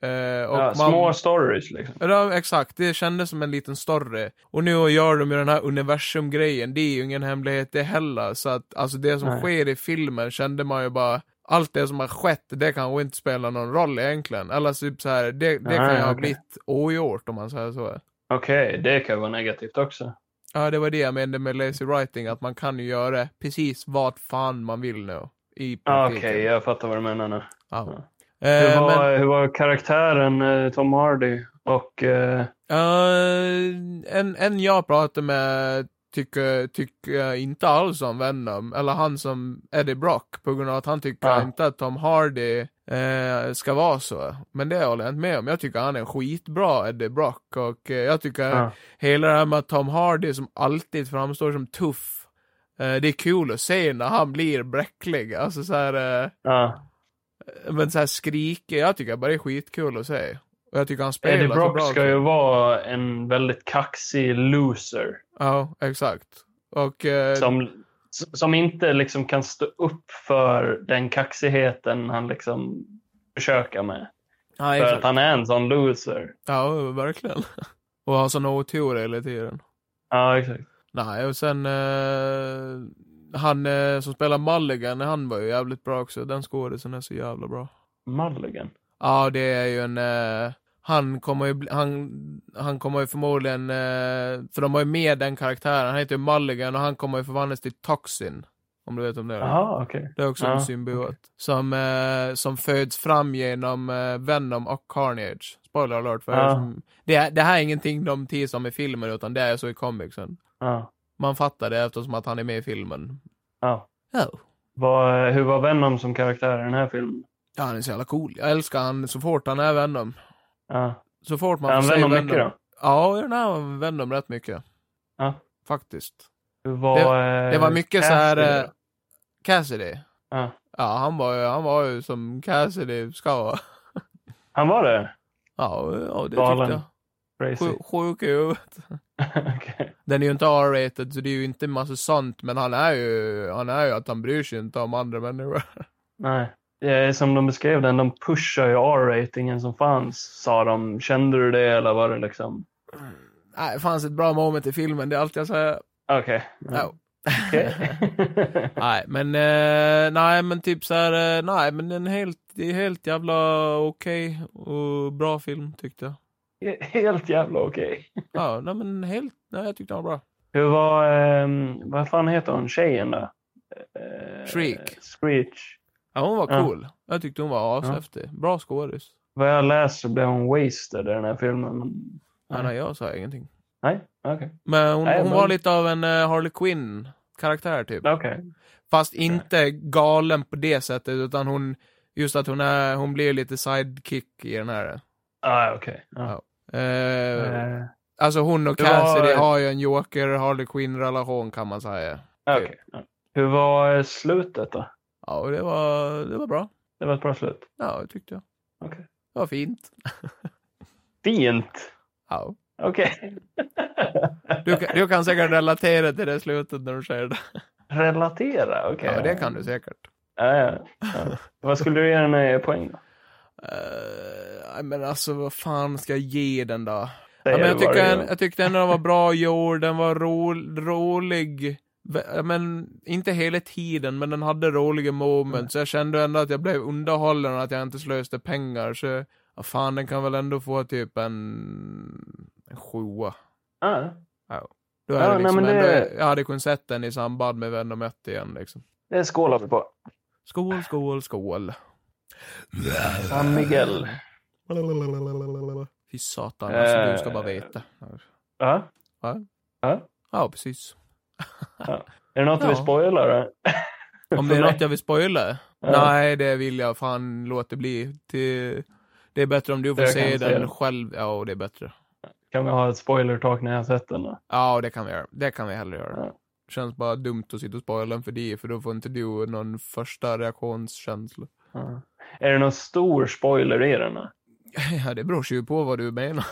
B: Eh, och
C: ja,
B: man-
C: Små stories liksom.
B: Ja, exakt. Det kändes som en liten större. Och nu gör de ju den här universumgrejen. Det är ju ingen hemlighet det heller. Så att, alltså det som
C: Nej.
B: sker i filmen kände man ju bara, allt det som har skett, det kanske inte spelar någon roll egentligen. Eller typ så här, det, det kan
C: Nej,
B: ju ha
C: okej.
B: blivit ogjort om man säger så.
C: Okej, det kan ju vara negativt också.
B: Ja, det var det jag menade med lazy writing, att man kan ju göra precis vad fan man vill nu. I
C: Ja, Ah, Okej,
B: praktiken.
C: jag fattar vad du menar nu.
B: Ja.
C: Hur
B: Eh, men-
C: var, hur var karaktären eh, Tom Hardy? Och eh,
B: Eh, en, en jag pratar med tycker, tycker inte alls om Venom, eller han som Eddie Brock, på grund av att han tycker
C: Ja.
B: inte att Tom Hardy eh, ska vara så. Men det håller jag inte med om. Jag tycker han är en skitbra Eddie Brock och eh, jag tycker
C: Ja.
B: hela det här med att Tom Hardy som alltid framstår som tuff, eh, det är kul att se när han blir bräcklig. Alltså så här, eh,
C: ja.
B: men så här skriker, jag tycker bara det är skitkul att se. Och jag tycker han spelar
C: Eddie
B: så
C: Brock
B: bra
C: ska
B: också.
C: ju vara en väldigt kaxig loser.
B: Ja, exakt. Och eh,
C: Som, s- som inte liksom kan stå upp för den kaxigheten han liksom försöker med.
B: Nej,
C: För att
B: exakt.
C: han är en sån loser.
B: Ja, verkligen. [laughs] Och har sån otur hela tiden.
C: Ja, exakt.
B: Nej, och sen eh, han eh, som spelar Mulligan, han var ju jävligt bra också. Den skådisen är så jävla bra.
C: Mulligan.
B: Ja, det är ju en... Eh, han kommer ju, bli- han, han kommer ju förmodligen... Eh, för de har ju med den karaktären. Han heter ju Mulligan och han kommer ju förvandlas till Toxin. Om du vet om det är.
C: Jaha, okej.
B: Det är också en
C: Ja,
B: symbiot. Som, eh, som föds fram genom eh, Venom och Carnage. Spoiler alert för
C: Ja.
B: er som, det, det här är ingenting de teasar om i filmen utan det är så i comicsen.
C: Ja.
B: Man fattar det eftersom att han är med i filmen.
C: Ja.
B: Oh.
C: Vad- Hur var Venom som karaktär i den här filmen?
B: Ja, han är så jävla cool. Jag älskar han så fort han är Venom.
C: Ja.
B: Så fort man
C: Man
B: får
C: Använder
B: se
C: de mycket då?
B: Ja, i den här var Venom rätt mycket.
C: Ja.
B: Faktiskt.
C: Hur var, eh,
B: Det var mycket så här...
C: Cassidy
B: eh,
C: då?
B: Cassidy.
C: Ja.
B: Ja, han var ju, han var ju som Cassidy ska vara.
C: Han var det?
B: Ja, ja det
C: Galen.
B: tyckte jag.
C: Crazy.
B: Sju- Sjuk i huvudet.
C: [laughs] Okej.
B: Den är ju inte R-rated så det är ju inte massa sånt men han är ju, han är ju att han bryr sig inte om andra människor. [laughs]
C: Nej. Det är Som de beskrev den, de pushar ju R-ratingen som fanns, sa de. Kände du det eller var det liksom...
B: Nej, det fanns ett bra moment i filmen, det är allt jag säger.
C: Okej.
B: Ja.
C: Okej.
B: [laughs]
C: [laughs]
B: nej, men, eh, nej men typ så här, eh, nej men en helt, det är helt jävla okej och bra film tyckte jag.
C: Helt jävla okej.
B: Ja, nej men helt, nej jag tyckte den var bra.
C: Hur var, ehm, vad fan heter hon, tjejen då? Eh,
B: Shriek.
C: Screech.
B: Ja, hon var
C: Ja.
B: cool. Jag tyckte hon var ashäftig. Bra skådis.
C: Vad jag läst så blev hon wasted i den här filmen.
B: Nej, nej, jag sa ingenting.
C: Nej, okej.
B: Men hon,
C: Nej,
B: hon
C: men-
B: var lite av en eh, Harley Quinn karaktär typ.
C: Okej.
B: Fast inte galen på det sättet, utan hon, just att hon är, hon blir lite sidekick i den här.
C: Ah, okej. Ja.
B: Ja. Eh,
C: Eh,
B: alltså hon och
C: det var-
B: Cassidy har ju en Joker, Harley Quinn-relation kan man säga.
C: okej, Typ. ja. Hur var eh, slutet då?
B: Ja, och det var, det var bra.
C: Det var ett bra slut.
B: Ja, det tyckte jag.
C: Okej.
B: Det var fint.
C: Fint.
B: Ja.
C: Okej. [laughs]
B: Du, kan- du kan säkert relatera till det slutet när du säger det.
C: Relatera, okej.
B: Ja, det kan du säkert.
C: Ja, ja, ja. Vad skulle du ge den här poäng då?
B: Eh, nej, men alltså, vad fan ska jag ge den då? Ja,
C: Säger
B: men jag,
C: du vad
B: tycker
C: du
B: en,
C: gör?
B: jag tyckte ändå den var bra gjord, den var ro, rolig. Vä- ja, Men inte hela tiden, men den hade roliga moments.
C: Mm.
B: Så jag kände ändå att jag blev underhållen och att jag inte slösade pengar. Så ja, fan, den kan väl ändå få typ en, en sjua.
C: Ja,
B: Då är det
C: Ja, nej,
B: liksom
C: men
B: ändå,
C: det-
B: Jag hade kunnat sett den i samband med Venom 1 igen. Liksom.
C: det skålar vi på.
B: Skål, skål, skål.
C: San Miguel.
B: Fy satan, alltså,
C: Eh.
B: du ska bara veta.
C: Ja.
B: Ja, precis.
C: Är det något du vill
B: Ja.
C: spoila då?
B: [laughs] Om
C: För
B: det är
C: mig.
B: något jag vill spoila?
C: Ja.
B: Nej, det vill jag fan låta bli. Till... Det är bättre om du får
C: Jag
B: se
C: kan se
B: den
C: den.
B: själv. Ja, och det är bättre.
C: Kan vi ha ett spoiler-talk när jag har sett den då?
B: Ja, det kan vi göra. Det kan vi hellre göra.
C: Ja.
B: Känns bara dumt att sitta och spoila den för dig, för då får inte du någon första reaktionskänsla. [laughs]
C: Ja. Är det någon stor spoiler i den då?
B: Ja, det beror ju på vad du menar.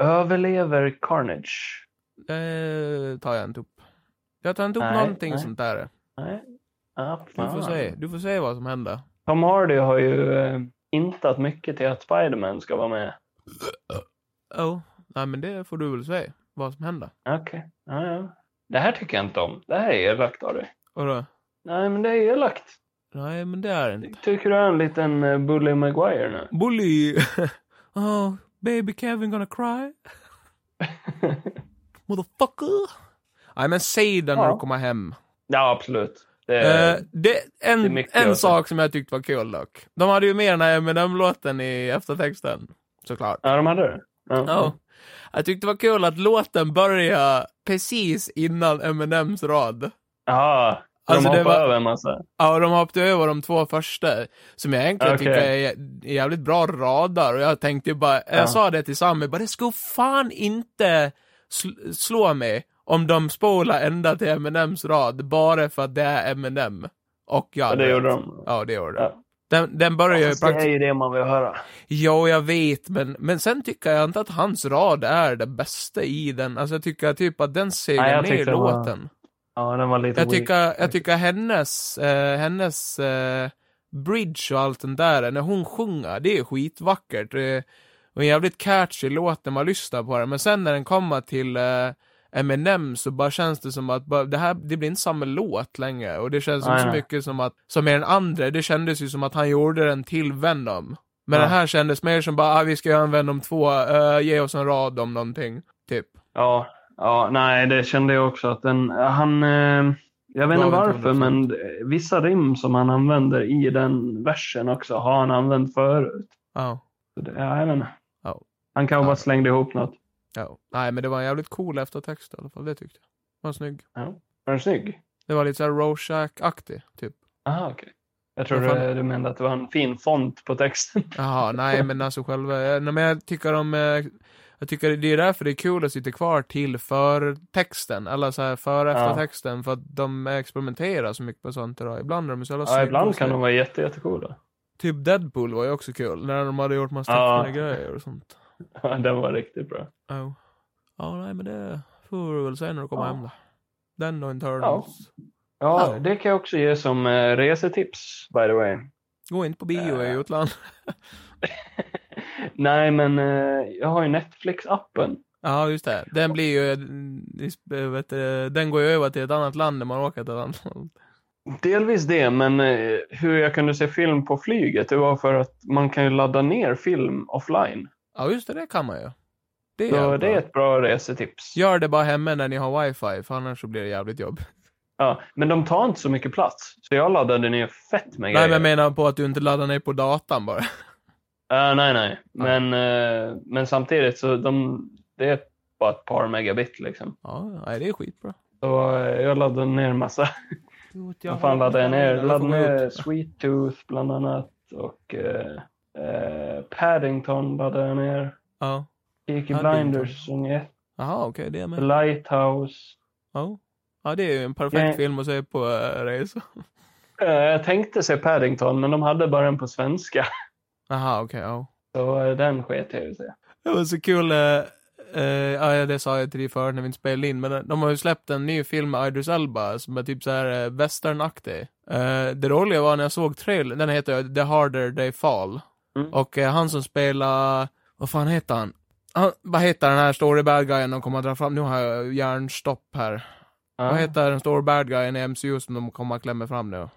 C: Överlever Carnage?
B: Det tar jag inte upp. Jag tar inte upp
C: Nej,
B: någonting
C: nej.
B: sånt där.
C: Nej. Ah,
B: Du får,
C: fan.
B: se. du får se vad som händer.
C: Tom Hardy har ju eh, intat mycket till att Spider-Man ska vara med.
B: Oh. Nej, men det får du väl se. Vad som händer.
C: Okej. Ja, ja. Det här tycker jag inte om. Det här är elakt av dig.
B: Vadå?
C: Nej, men det är elakt.
B: Nej, men det är det inte.
C: Tycker du är en liten eh, Bully Maguire nu?
B: Bully! [laughs] oh, baby Kevin gonna
C: [laughs]
B: cry. Motherfucker! Nej men säg den när
C: Ja.
B: du kommer hem.
C: ja, absolut. Det
B: Eh,
C: är,
B: det,
C: det är
B: en
C: mycket alltså.
B: en
C: att-
B: sak som jag tyckte var kul dock. De hade ju med den här Eminem-låten i eftertexten. Såklart.
C: Ja, de hade det?
B: Ja. Jag tyckte det var kul att låten började precis innan Eminems rad.
C: Ja, så
B: Alltså,
C: de
B: det
C: hoppade
B: var-
C: över en massa.
B: Ja, och de hoppade över de två första, som jag egentligen
C: Okej.
B: tycker är jä- jävligt bra radar. Och jag tänkte ju bara,
C: Ja.
B: jag sa det till Sammy, bara det skulle fan inte sl- slå mig om de spolar ända till Eminems rad, bara för att det är Eminem. Och jag
C: Ja,
B: hade
C: det
B: rätt.
C: gjorde de.
B: Ja, det gjorde de.
C: Ja. alltså,
B: Den, den börjar ju
C: Fast Det är
B: praktiskt...
C: ju det man vill höra.
B: Ja, jag vet, men, men sen tycker jag inte att hans rad är det bästa i den. Alltså, jag tycker typ att den
C: Nej,
B: segar
C: jag
B: ner
C: tyckte det var-
B: låten.
C: Ja, den var lite
B: Jag
C: weak.
B: tycker, jag tycker hennes, eh, hennes eh, bridge och allt den där, när hon sjunger, det är skitvackert. Eh, och en jävligt catchy låt när man lyssnar på den, men sen när den kommer till eh, Eminem så bara känns det som att bara, det här, det blir inte samma låt längre. Och det känns som
C: Nej,
B: så
C: nej.
B: mycket som att, som med den andra, det kändes ju som att han gjorde den till Venom. Men
C: Ja.
B: den här kändes mer som bara, ah, vi ska göra en Venom 2, eh, ge oss en rad om någonting, typ.
C: Ja, ja, nej, det kände jag också att den, han, eh, jag vet
B: Gav
C: inte
B: inte
C: varför,
B: 100%.
C: men eh, vissa rim som han använder i den versen också har han använt förut.
B: Ja.
C: Så det, ja, jag vet inte.
B: Ja.
C: Han kanske
B: Ja.
C: bara slängde ihop något.
B: Ja. Nej, men det var en jävligt cool eftertext i alla fall, det tyckte jag. Den var snygg.
C: Var den snygg?
B: Det var lite såhär Rorschach-aktig, typ.
C: Aha, okej. Jag trodde
B: Vad fan?
C: du menade att det var en fin font på texten.
B: Jaha, nej men alltså själva, eh, nej, men jag tycker om, eh, jag tycker det är därför det är kul att sitta kvar till förtexten, eller så här före
C: Ja.
B: eftertexten, för att de experimenterar så mycket på sånt idag. Ibland är de så jävla
C: Ja,
B: snygga
C: ibland
B: och
C: kan
B: så-
C: de vara jätte, jättecoola.
B: Typ Deadpool var ju också kul, när de hade gjort massa
C: Ja.
B: tecknade grejer och sånt.
C: Ja, den var riktigt bra.
B: Ja. Ja, nej men det får du väl säga när du kommer
C: Ja.
B: hem då. Den och Internals.
C: Ja,
B: Ja.
C: det kan jag också ge som eh, resetips, by the way. [laughs]
B: Gå inte på bio i
C: Äh.
B: utlandet.
C: Nej, men eh, jag har ju Netflix-appen.
B: Ja, just det. Den blir ju, eh, vet du, den går ju över till ett annat land när man åker till ett annat land.
C: Delvis det, men eh, hur jag kunde se film på flyget, det var för att man kan ju ladda ner film offline.
B: [laughs] Ja, just det, det kan man ju. Det är
C: Så
B: jävligt
C: det är
B: bra.
C: ett bra resetips.
B: Gör det bara hemma när ni har wifi, för annars så blir det jävligt jobb.
C: Ja, men de tar inte så mycket plats, så jag laddade ner fett med
B: Nej, men
C: grejer.
B: jag menar på att du inte laddar ner på datan bara. [laughs]
C: Ja, nej, nej. Men, eh, men samtidigt så de, det är bara ett par megabit liksom.
B: Ja, nej, det är skitbra.
C: Så eh, jag laddade ner massa. Vad fan laddade jag ner? Jag laddade ner Sweet Tooth bland annat och eh, eh, Paddington laddade jag ner.
B: Ja.
C: Peaky
B: Paddington.
C: Blinders säsong 1,
B: Jaha, okej, det är med.
C: Lighthouse.
B: Ja. ja, det är ju en perfekt
C: Nej.
B: film att se på uh, resa.
C: Eh, jag tänkte se Paddington men de hade bara den på svenska. [laughs]
B: Jaha, okej, ja.
C: Så eh, den sket jag i att se.
B: Det var så kul. eh, eh, ja, det sa jag till dig förut när vi inte spelade in, men eh, de har ju släppt en ny film med Idris Elba som är typ så här eh, westernaktig. Eh, det roliga var när jag såg trailern, den heter ju The Harder They Fall.
C: Mm.
B: Och eh, han som spelar, vad fan heter han? han vad heter den här story bad guyen de kommer att dra fram? Nu har jag hjärnstopp här.
C: Ja,
B: Vad heter den story bad guyen i MCU som de kommer att klämma fram nu?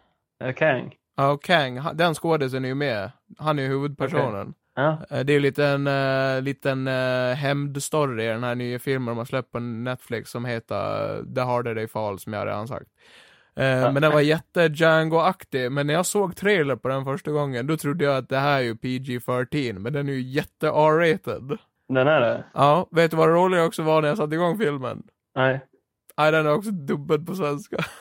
C: eh, Kang.
B: Ja, och Kang, han- den skådisen är ju med. Han är ju huvudpersonen.
C: Ja.
B: Eh, Det är ju lite en uh, liten eh, hämndstory i den här nya filmen de har släppt på Netflix som heter eh, The Harder They Fall, som jag redan sagt. Eh, Men den var jätte Django-aktig, men när jag såg trailer på den första gången, då trodde jag att det här är ju PG-13, men den är ju jätte R-rated.
C: Den är det?
B: Ja, vet du vad det roliga också var när jag satte igång filmen?
C: Nej.
B: Nej, den är också dubbad på svenska. [laughs]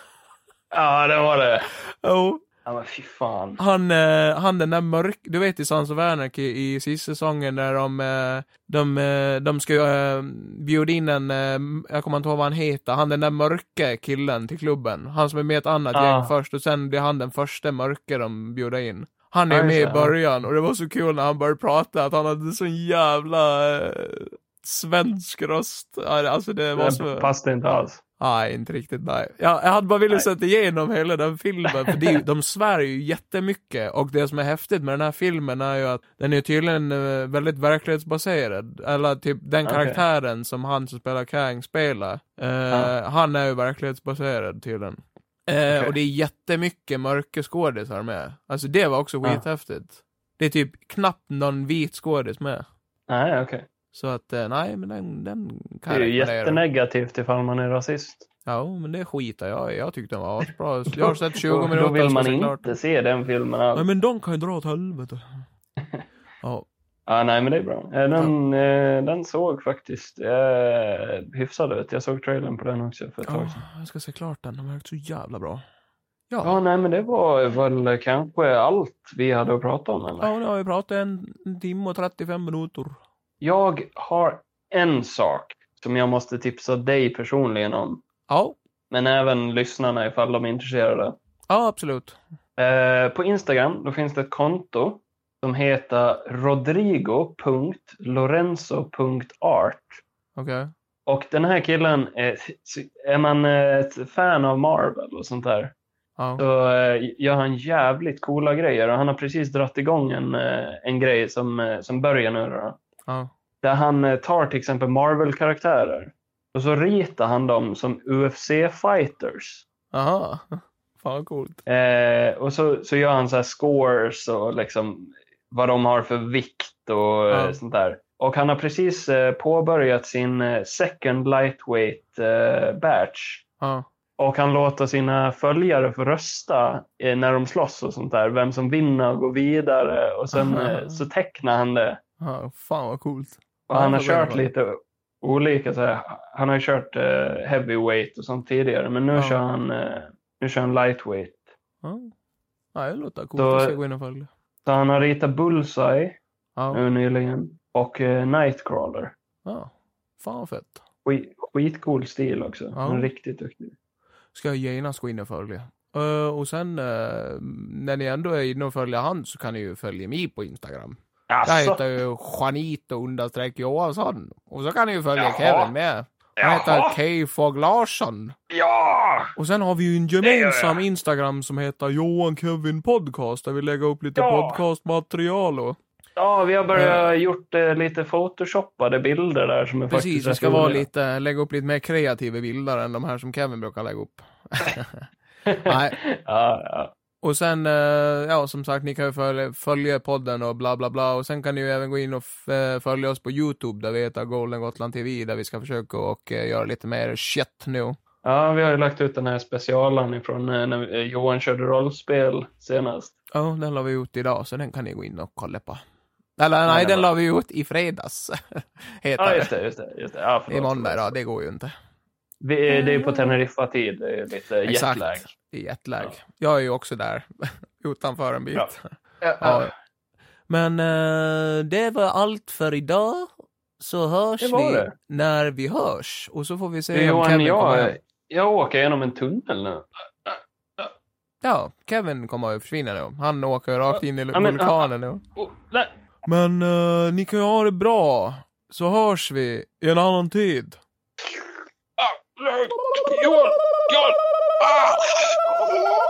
C: Ja, den var det.
B: Jo,
C: Ja, men fy fan.
B: Han, eh, han den där mörk, du vet i Sons of Anarchy i sista säsongen där de, eh, de, eh, de ska eh, bjuda in en, eh, jag kommer inte ihåg vad han heter, han den där mörke killen till klubben. Han som är med i ett annat
C: Ah.
B: gäng först och sen blir han den första mörke de bjuder in. Han är
C: Ja, Ah, just
B: med i
C: det, ja.
B: början och det var så kul när han började prata att han hade sån jävla eh, svensk röst. Ja, Alltså det var så...
C: Den passade inte alls.
B: Nej, inte riktigt. Nej. Jag, jag hade bara velat sätta igenom hela den filmen, för det är, ju- de svär ju jättemycket. Och det som är häftigt med den här filmen är ju att den är tydligen eh, väldigt verklighetsbaserad. Eller typ den
C: Okej.
B: karaktären som han som spelar Kang spelar, eh,
C: Ja.
B: han är ju verklighetsbaserad tydligen. Eh,
C: Okej.
B: Och det är jättemycket mörka skådisar med. Alltså det var också
C: Ja.
B: skithäftigt. Det är typ knappt någon vit skådis med.
C: Nej, okej.
B: Så att, eh, nej men den, den kan
C: Det är
B: jag
C: ju
B: rekommendera.
C: jättenegativt ifall man är rasist.
B: Ja, men det skitar jag i. Jag tyckte den var
C: [laughs]
B: asbra. Jag har sett 20
C: Då-
B: minuter.
C: Då vill man
B: så
C: inte
B: såklart-
C: se den filmen alls.
B: Nej, men de kan ju dra åt
C: [laughs]
B: helvete. Ja,
C: Ja, nej, men det är bra. Eh, Den, eh, den såg faktiskt eh, hyfsad ut. Jag såg trailern på den också för ett tag
B: ja,
C: sedan.
B: jag ska se klart den. Den verkar så jävla bra.
C: Ja,
B: Ja,
C: nej, men det var väl kanske allt vi hade att prata om. Eller?
B: ja nu har vi pratat en, en timme och 35 minuter.
C: Jag har en sak som jag måste tipsa dig personligen om,
B: Ja,
C: men även lyssnarna ifall de är intresserade.
B: ja absolut.
C: Eh, på Instagram då finns det ett konto som heter rodrigo.lorenzo.art.
B: Okej.
C: Och den här killen, är, är man ett fan av Marvel och sånt där,
B: Ja.
C: så eh, gör han jävligt coola grejer. Och han har precis dratt igång en, eh, en grej som, eh, som börjar nu. Då,
B: ja.
C: där han eh, tar till exempel Marvel-karaktärer och så ritar han dem som UFC-fighters.
B: Aha. [laughs] Fan vad coolt.
C: Eh, och så, så gör han så här scores och liksom vad de har för vikt och eh,
B: Ja.
C: sånt där. Och han har precis eh, påbörjat sin eh, second lightweight eh, batch.
B: Ja.
C: Och han låter sina följare få rösta eh, när de slåss och sånt där. Vem som vinner och går vidare. Och sen eh, så tecknar han det.
B: ja. Fan vad coolt.
C: Och
B: Ja,
C: han har
B: det var
C: kört
B: det.
C: lite olika. Så här, han har ju kört eh, heavyweight och sånt tidigare. Men nu,
B: Ja.
C: kör han, eh, nu kör han lightweight.
B: Ja. Ja, det låter coolt.
C: Då-
B: Jag ska gå in och följa.
C: Så han har ritat Bullseye.
B: Ja.
C: nu nyligen. Och eh, Nightcrawler.
B: ja. Fan vad fett.
C: Skit, skitcool stil också. Han är
B: Ja.
C: riktigt duktig.
B: ska jag genast gå in och följa. Eh, och sen eh, när ni ändå är inne och följer han så kan ni ju följa mig på Instagram. Jag heter
C: Jaså?
B: ju Janito understreck Johansson. Och så kan ni ju följa
C: Jaha.
B: Kevin med. Han heter
C: Jaha.
B: K. Fogg Larsson.
C: Ja!
B: Och sen har vi ju en
C: jag.
B: gemensam Instagram som heter Johan Kevin Podcast där vi lägger upp lite
C: Ja.
B: podcastmaterial och
C: Ja, vi har börjat gjort eh, lite photoshoppade bilder där som är
B: precis,
C: faktiskt
B: vi
C: rätt
B: ska vara
C: roliga.
B: lite, lägga upp lite mer kreativa bilder än de här som Kevin brukar lägga
C: [laughs]
B: upp. Nej,
C: ja, ja.
B: Och sen, eh, ja som sagt, ni kan ju följa, följa podden och bla bla bla. Och sen kan ni ju även gå in och f- eh, följa oss på YouTube där vi heter Golden Gotland TV där vi ska försöka och eh, göra lite mer shit nu.
C: ja, vi har ju lagt ut den här specialen ifrån eh, när vi- eh, Johan körde rollspel senast.
B: Ja, den la vi ut idag så den kan ni gå in och kolla på. Eller nej,
C: den
B: den la vi ut i fredags. [laughs] heter
C: Ja,
B: det.
C: just det. Just det, just det. Ja, förlåt.
B: I måndag då, det går ju inte.
C: Vi, det är på Teneriffa-tid. Det är lite
B: Exakt.
C: jetlag.
B: Det är jetlag.
C: Ja.
B: Jag är ju också där, [laughs] utanför en bit.
C: Ja.
B: Ja. Men eh, det var allt för idag. Så hörs
C: Det var
B: vi
C: det.
B: när vi hörs. Och så får vi se
C: Du,
B: om
C: Johan,
B: Kevin kommer
C: jag,
B: hem.
C: jag åker genom en tunnel nu.
B: Ja, Kevin kommer att försvinna nu. Han åker rakt in i
C: Ja, men-
B: vulkanen nu.
C: Oh, nej.
B: Men eh, ni kan ju ha det bra. Så hörs vi i en annan tid.
E: Ah, Johan! Johan! Ah!